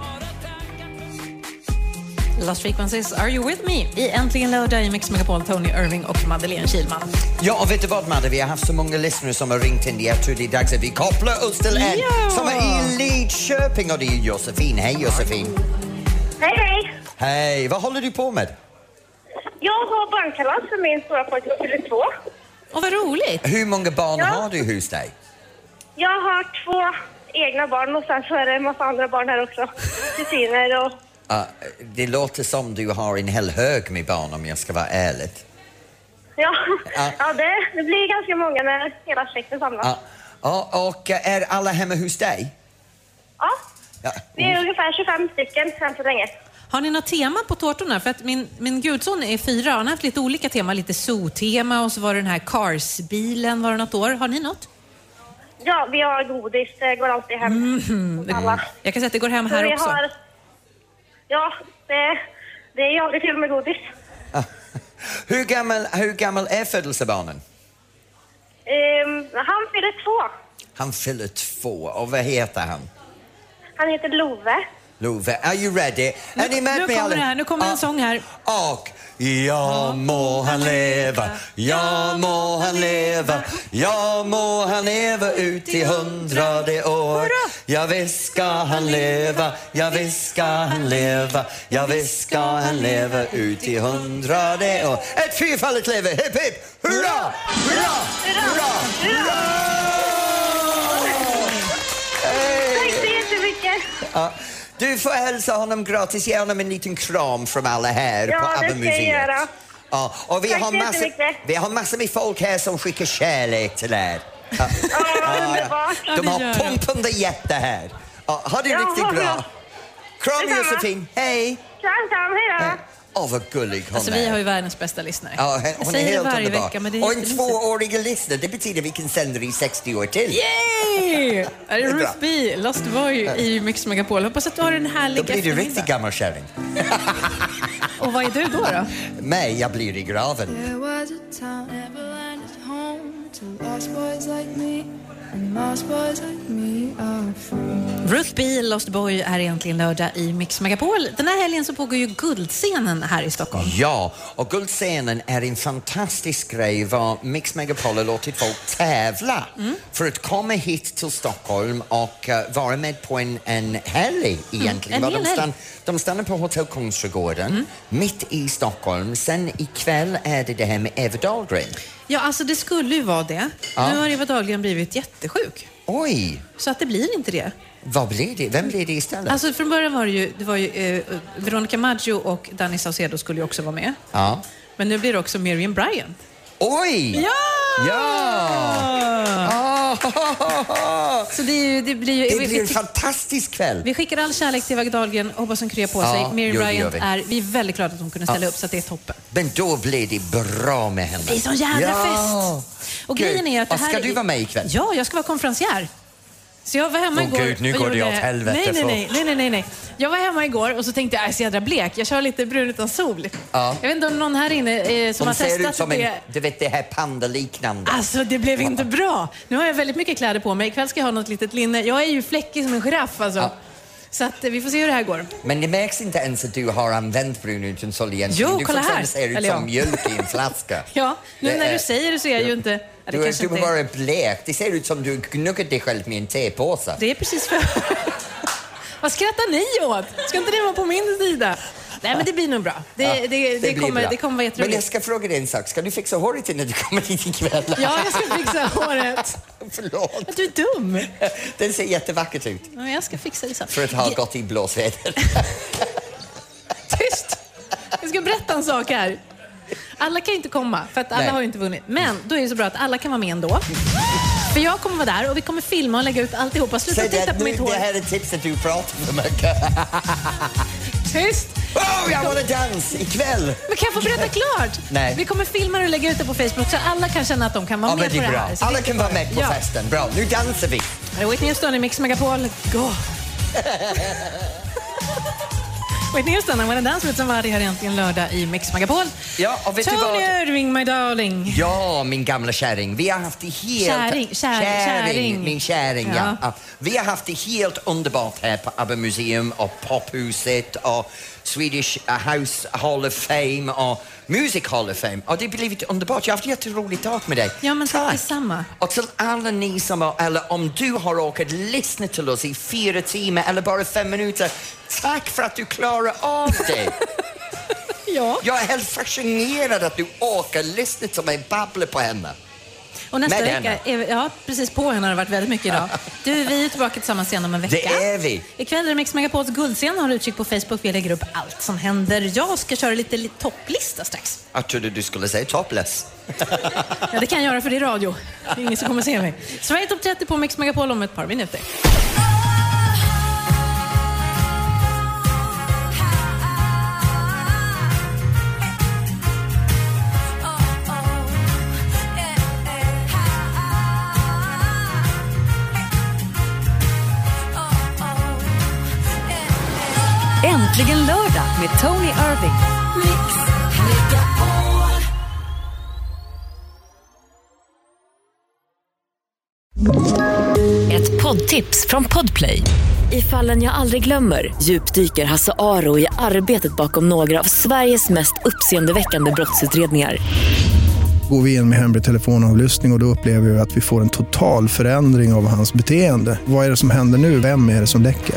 Speaker 3: Last Frequencies, Are You With Me? I Äntligen lördag i Mix Megapol, Tony Irving och Madeleine Kilman.
Speaker 2: Ja, och vet du vad Madde? Vi har haft så många lyssnare som har ringt in. Jag tror det är dags att vi kopplar oss till en
Speaker 3: Ja.
Speaker 2: som är i Lidköping och det är Josefin. Hej Josefin!
Speaker 9: Hej, hej!
Speaker 2: Hej! Vad håller du på med?
Speaker 9: Jag har barnkalas för min stora pojke som fyller två.
Speaker 3: Och vad roligt!
Speaker 2: Hur många barn
Speaker 9: Ja.
Speaker 2: har du hos dig?
Speaker 9: Jag har två egna barn och sen så är det en massa andra barn här också. Kusiner och...
Speaker 2: Ja, Ah, det låter som du har en hel hög med barn om jag ska vara ärlig.
Speaker 9: Ja,
Speaker 2: Ja.
Speaker 9: ja det, det blir ganska många när hela släkten samlas.
Speaker 2: Ja. Ah, Ja, och eh, är alla hemma hos dig?
Speaker 9: Ja,
Speaker 2: Ja.
Speaker 9: vi är ungefär 25 stycken än så länge.
Speaker 3: Har ni något tema på tårtorna? För att min, min gudson är fyra och han har haft lite olika tema. Lite zoo-tema och så var det den här Cars-bilen var det något år. Har ni något?
Speaker 9: Ja, vi har godis. Det går alltid hem.
Speaker 2: Mhm,
Speaker 9: hos Alla.
Speaker 3: Jag kan säga att det går hem
Speaker 9: Så vi
Speaker 3: här också.
Speaker 9: har- Ja, det, det är ju aldrig kul med godis.
Speaker 2: Hur, gammal, hur gammal är födelsebarnen?
Speaker 9: Ehm, han fyller två.
Speaker 2: Han fyller två och vad heter han?
Speaker 9: Han heter Love.
Speaker 2: Love, are you ready? Är ni med
Speaker 3: Nu
Speaker 2: mig Ah.
Speaker 3: kommer det här, nu kommer
Speaker 2: Ja.
Speaker 3: en sång här.
Speaker 2: Och jag må han leva, jag må han leva, jag må han leva ut i hundrade år. Jag visst ska han leva, jag visst ska han leva, jag visst ska han leva ut i hundrade år. Ett fyrfaldigt leve, hipp hipp, hurra, hurra, hurra, hurra! Hej!
Speaker 9: Tack så jättemycket.
Speaker 2: Ja. Du får hälsa honom gratis. Ge honom en liten kram från alla här
Speaker 9: Ja,
Speaker 2: på
Speaker 9: det ska
Speaker 2: ABBA
Speaker 9: jag
Speaker 2: Museet.
Speaker 9: göra.
Speaker 2: Ja, och vi
Speaker 9: Tack
Speaker 2: har,
Speaker 9: så
Speaker 2: massor,
Speaker 9: jättemycket.
Speaker 2: vi har massor med folk här som skickar kärlek till er. Ja.
Speaker 9: Ja, underbart.
Speaker 3: Ja,
Speaker 2: De
Speaker 3: det gör
Speaker 2: har
Speaker 3: de.
Speaker 2: pumpande jätte här. Ja, ha det
Speaker 9: Ja,
Speaker 2: riktigt
Speaker 9: ha det
Speaker 2: bra.
Speaker 9: bra.
Speaker 2: Kram
Speaker 9: Detsamma.
Speaker 2: Josefin, hej!
Speaker 9: Kram, kram. Hej då.
Speaker 2: Åh, vad gullig hon
Speaker 3: Alltså,
Speaker 2: är.
Speaker 3: vi har ju världens bästa lyssnare.
Speaker 2: Ja, hon-
Speaker 3: Jag
Speaker 2: hon är
Speaker 3: säger
Speaker 2: helt
Speaker 3: det varje
Speaker 2: underbar.
Speaker 3: vecka, men det är
Speaker 2: och en
Speaker 3: jättemysigt.
Speaker 2: tvåårig lyssnare, det betyder vi kan sända det i 60 år till.
Speaker 3: Yay! Här är Ruth B, Lost Boy i Mix Megapol. Hoppas att du har en
Speaker 2: Då
Speaker 3: härlig
Speaker 2: blir du riktigt gammal kärring.
Speaker 3: Och vad är du då? då?
Speaker 2: Nej, jag blir i graven.
Speaker 13: There was a town never landed home to lost boys like me, and lost boys like me are free.
Speaker 3: Ruth B, Lost Boy, är egentligen lördag i Mix Megapol. Den här helgen så pågår ju Guldscenen här i Stockholm.
Speaker 2: Ja, och Guldscenen är en fantastisk grej var Mix Megapol har låtit folk tävla
Speaker 3: Mm.
Speaker 2: för att komma hit till Stockholm och eh, vara med på en, en helg egentligen.
Speaker 3: Mm, en
Speaker 2: Var
Speaker 3: hel
Speaker 2: de,
Speaker 3: helg. Mm.
Speaker 2: de stannar på Hotell Kungsträdgården, mitt i Stockholm. Sen ikväll är det det här med Eva Dahlgren.
Speaker 3: Ja, alltså det skulle ju vara det.
Speaker 2: Ja.
Speaker 3: Nu har Eva Dahlgren blivit jättesjuk,
Speaker 2: Oj,
Speaker 3: så att det blir inte det.
Speaker 2: vad blir det? Vem blir det istället?
Speaker 3: Alltså från början var det ju, det var ju eh, Veronica Maggio och Danny Saucedo skulle ju också vara med.
Speaker 2: ja.
Speaker 3: Men nu blir det också Miriam Bryant.
Speaker 2: Oj!
Speaker 3: Ja!
Speaker 2: Ja! Ah,
Speaker 3: Så det, är ju, det blir ju...
Speaker 2: Det
Speaker 3: vi-
Speaker 2: blir en
Speaker 3: vi-
Speaker 2: fantastisk kväll.
Speaker 3: Vi skickar all kärlek till Eva Dahlgren och hoppas hon kryar på
Speaker 2: Ja,
Speaker 3: sig. Miriam
Speaker 2: gör det, gör
Speaker 3: Bryant
Speaker 2: vi.
Speaker 3: är... Vi är väldigt glada att hon kunde ställa
Speaker 2: Ja.
Speaker 3: upp, så att det är toppen.
Speaker 2: Men då blev det bra med henne.
Speaker 3: Det är sån jävla fest! Och grejen är att det
Speaker 2: Och
Speaker 3: här
Speaker 2: ska
Speaker 3: är-
Speaker 2: du vara med ikväll?
Speaker 3: Ja, jag ska vara konferencier. Så jag var hemma
Speaker 2: Åh,
Speaker 3: igår.
Speaker 2: gud, nu
Speaker 3: och
Speaker 2: går det
Speaker 3: gjorde-
Speaker 2: åt helvete
Speaker 3: Nej, nej,
Speaker 2: för-
Speaker 3: nej, nej, nej, nej, nej. Jag var hemma igår och så tänkte jag, "Aj, så jädra blek. Jag kör lite brun utan sol.
Speaker 2: Ja.
Speaker 3: Jag vet inte om någon här inne eh, som
Speaker 2: Hon
Speaker 3: har
Speaker 2: ser
Speaker 3: testat
Speaker 2: ut som
Speaker 3: det.
Speaker 2: en, du vet det här pandaliknande.
Speaker 3: Alltså det blev inte bra. Nu har jag väldigt mycket kläder på mig. Ikväll ska jag ha något litet linne. Jag är ju fläckig som en giraff alltså. Så att, eh, vi får se hur det här går.
Speaker 2: Men det märks inte ens att du har använt brun utan sol egentligen.
Speaker 3: Jo,
Speaker 2: du
Speaker 3: kolla här.
Speaker 2: fortfarande ser ut
Speaker 3: Eller
Speaker 2: som
Speaker 3: ja.
Speaker 2: mjölk i en flaska.
Speaker 3: Ja, nu
Speaker 2: Det
Speaker 3: när
Speaker 2: är-
Speaker 3: du säger det så är jag ju inte... Ja, det
Speaker 2: Du,
Speaker 3: kanske
Speaker 2: du
Speaker 3: inte
Speaker 2: är
Speaker 3: är.
Speaker 2: bara blek. Det ser ut som du gnuggat dig själv med en tepåse.
Speaker 3: Det är precis för... Vad skrattar ni åt? Ska inte det vara på min sida? Nej, men det blir nog bra. Det, det, det,
Speaker 2: blir
Speaker 3: kommer,
Speaker 2: bra.
Speaker 3: det kommer vara
Speaker 2: Men jag
Speaker 3: jätteroligt.
Speaker 2: ska fråga dig en sak. Ska du fixa håret innan du kommer hit ikväll?
Speaker 3: Ja, jag ska fixa håret.
Speaker 2: Förlåt.
Speaker 3: Att du är dum.
Speaker 2: Den ser jättevackert ut.
Speaker 3: Ja, jag ska fixa det sen.
Speaker 2: För att ha gått i blåsväder.
Speaker 3: Tyst! Jag ska berätta en sak här. Alla kan ju inte komma, för att alla
Speaker 2: Nej.
Speaker 3: har ju inte vunnit. Men då är det så bra att alla kan vara med ändå. För jag kommer vara där och vi kommer filma och lägga ut alltihopa. Sluta
Speaker 2: Säg
Speaker 3: titta
Speaker 2: det,
Speaker 3: på
Speaker 2: nu,
Speaker 3: mitt
Speaker 2: det
Speaker 3: hår.
Speaker 2: här är tipset du pratar för mycket.
Speaker 3: Tyst!
Speaker 2: Oh, jag vill dans ikväll!
Speaker 3: Men kan jag få berätta klart?
Speaker 2: Nej.
Speaker 3: Vi kommer filma det och lägga ut det på Facebook så alla kan känna att de kan vara
Speaker 2: Ja,
Speaker 3: med
Speaker 2: men det
Speaker 3: på
Speaker 2: är
Speaker 3: det
Speaker 2: bra.
Speaker 3: här. Så
Speaker 2: Alla
Speaker 3: det-
Speaker 2: kan vara med på
Speaker 3: Ja.
Speaker 2: festen. Bra, nu dansar vi.
Speaker 3: Här är Whitney Houston i Mix Megapol. Gå! Whitney Houston, I wanna dance with somebody här egentligen lördag i Mix Megapol.
Speaker 2: Ja, och vet du
Speaker 3: Tony
Speaker 2: vad?
Speaker 3: Irving, my darling.
Speaker 2: Ja, min gamla kärring. Vi har haft det helt...
Speaker 3: Käring, kär- käring.
Speaker 2: Min käring, ja.
Speaker 3: Ja.
Speaker 2: ja. Vi har haft det helt underbart här på ABBA Museum och Pophuset och Swedish House Hall of Fame och Music Hall of Fame. Och det har blivit underbart. Jag har haft jätteroligt tag med dig.
Speaker 3: Ja, men tack detsamma.
Speaker 2: Och till alla ni som har, eller om du har råkat lyssna till oss i fyra timmar eller bara fem minuter, tack för att du klarar av det.
Speaker 3: Ja.
Speaker 2: Jag är helt fascinerad att du orkar lyssna till mig babbla på henne.
Speaker 3: Och nästa
Speaker 2: Med
Speaker 3: vecka, är vi, ja precis, på henne har det varit väldigt mycket idag. Du, vi är tillbaka tillsammans igen om en vecka.
Speaker 2: Det är vi.
Speaker 3: Ikväll är det Mix Megapols guldscen. Håll utkik på Facebook. Vi lägger upp allt som händer. Jag ska köra lite, li- topplista strax.
Speaker 2: Jag trodde du skulle säga topless.
Speaker 3: Ja, det kan jag göra för det är radio. Det är ingen som kommer se mig. Sverige Topp 30 på Mix Megapol om ett par minuter.
Speaker 1: Äntligen lördag med Tony Irving. Mix Megapol.
Speaker 10: Ett poddtips från Podplay. I fallen jag aldrig glömmer djupdyker Hasse Aro i arbetet bakom några av Sveriges mest uppseendeväckande brottsutredningar.
Speaker 14: Går vi in med hemlig telefonavlyssning och, och då upplever vi att vi får en total förändring av hans beteende. Vad är det som händer nu? Vem är det som läcker?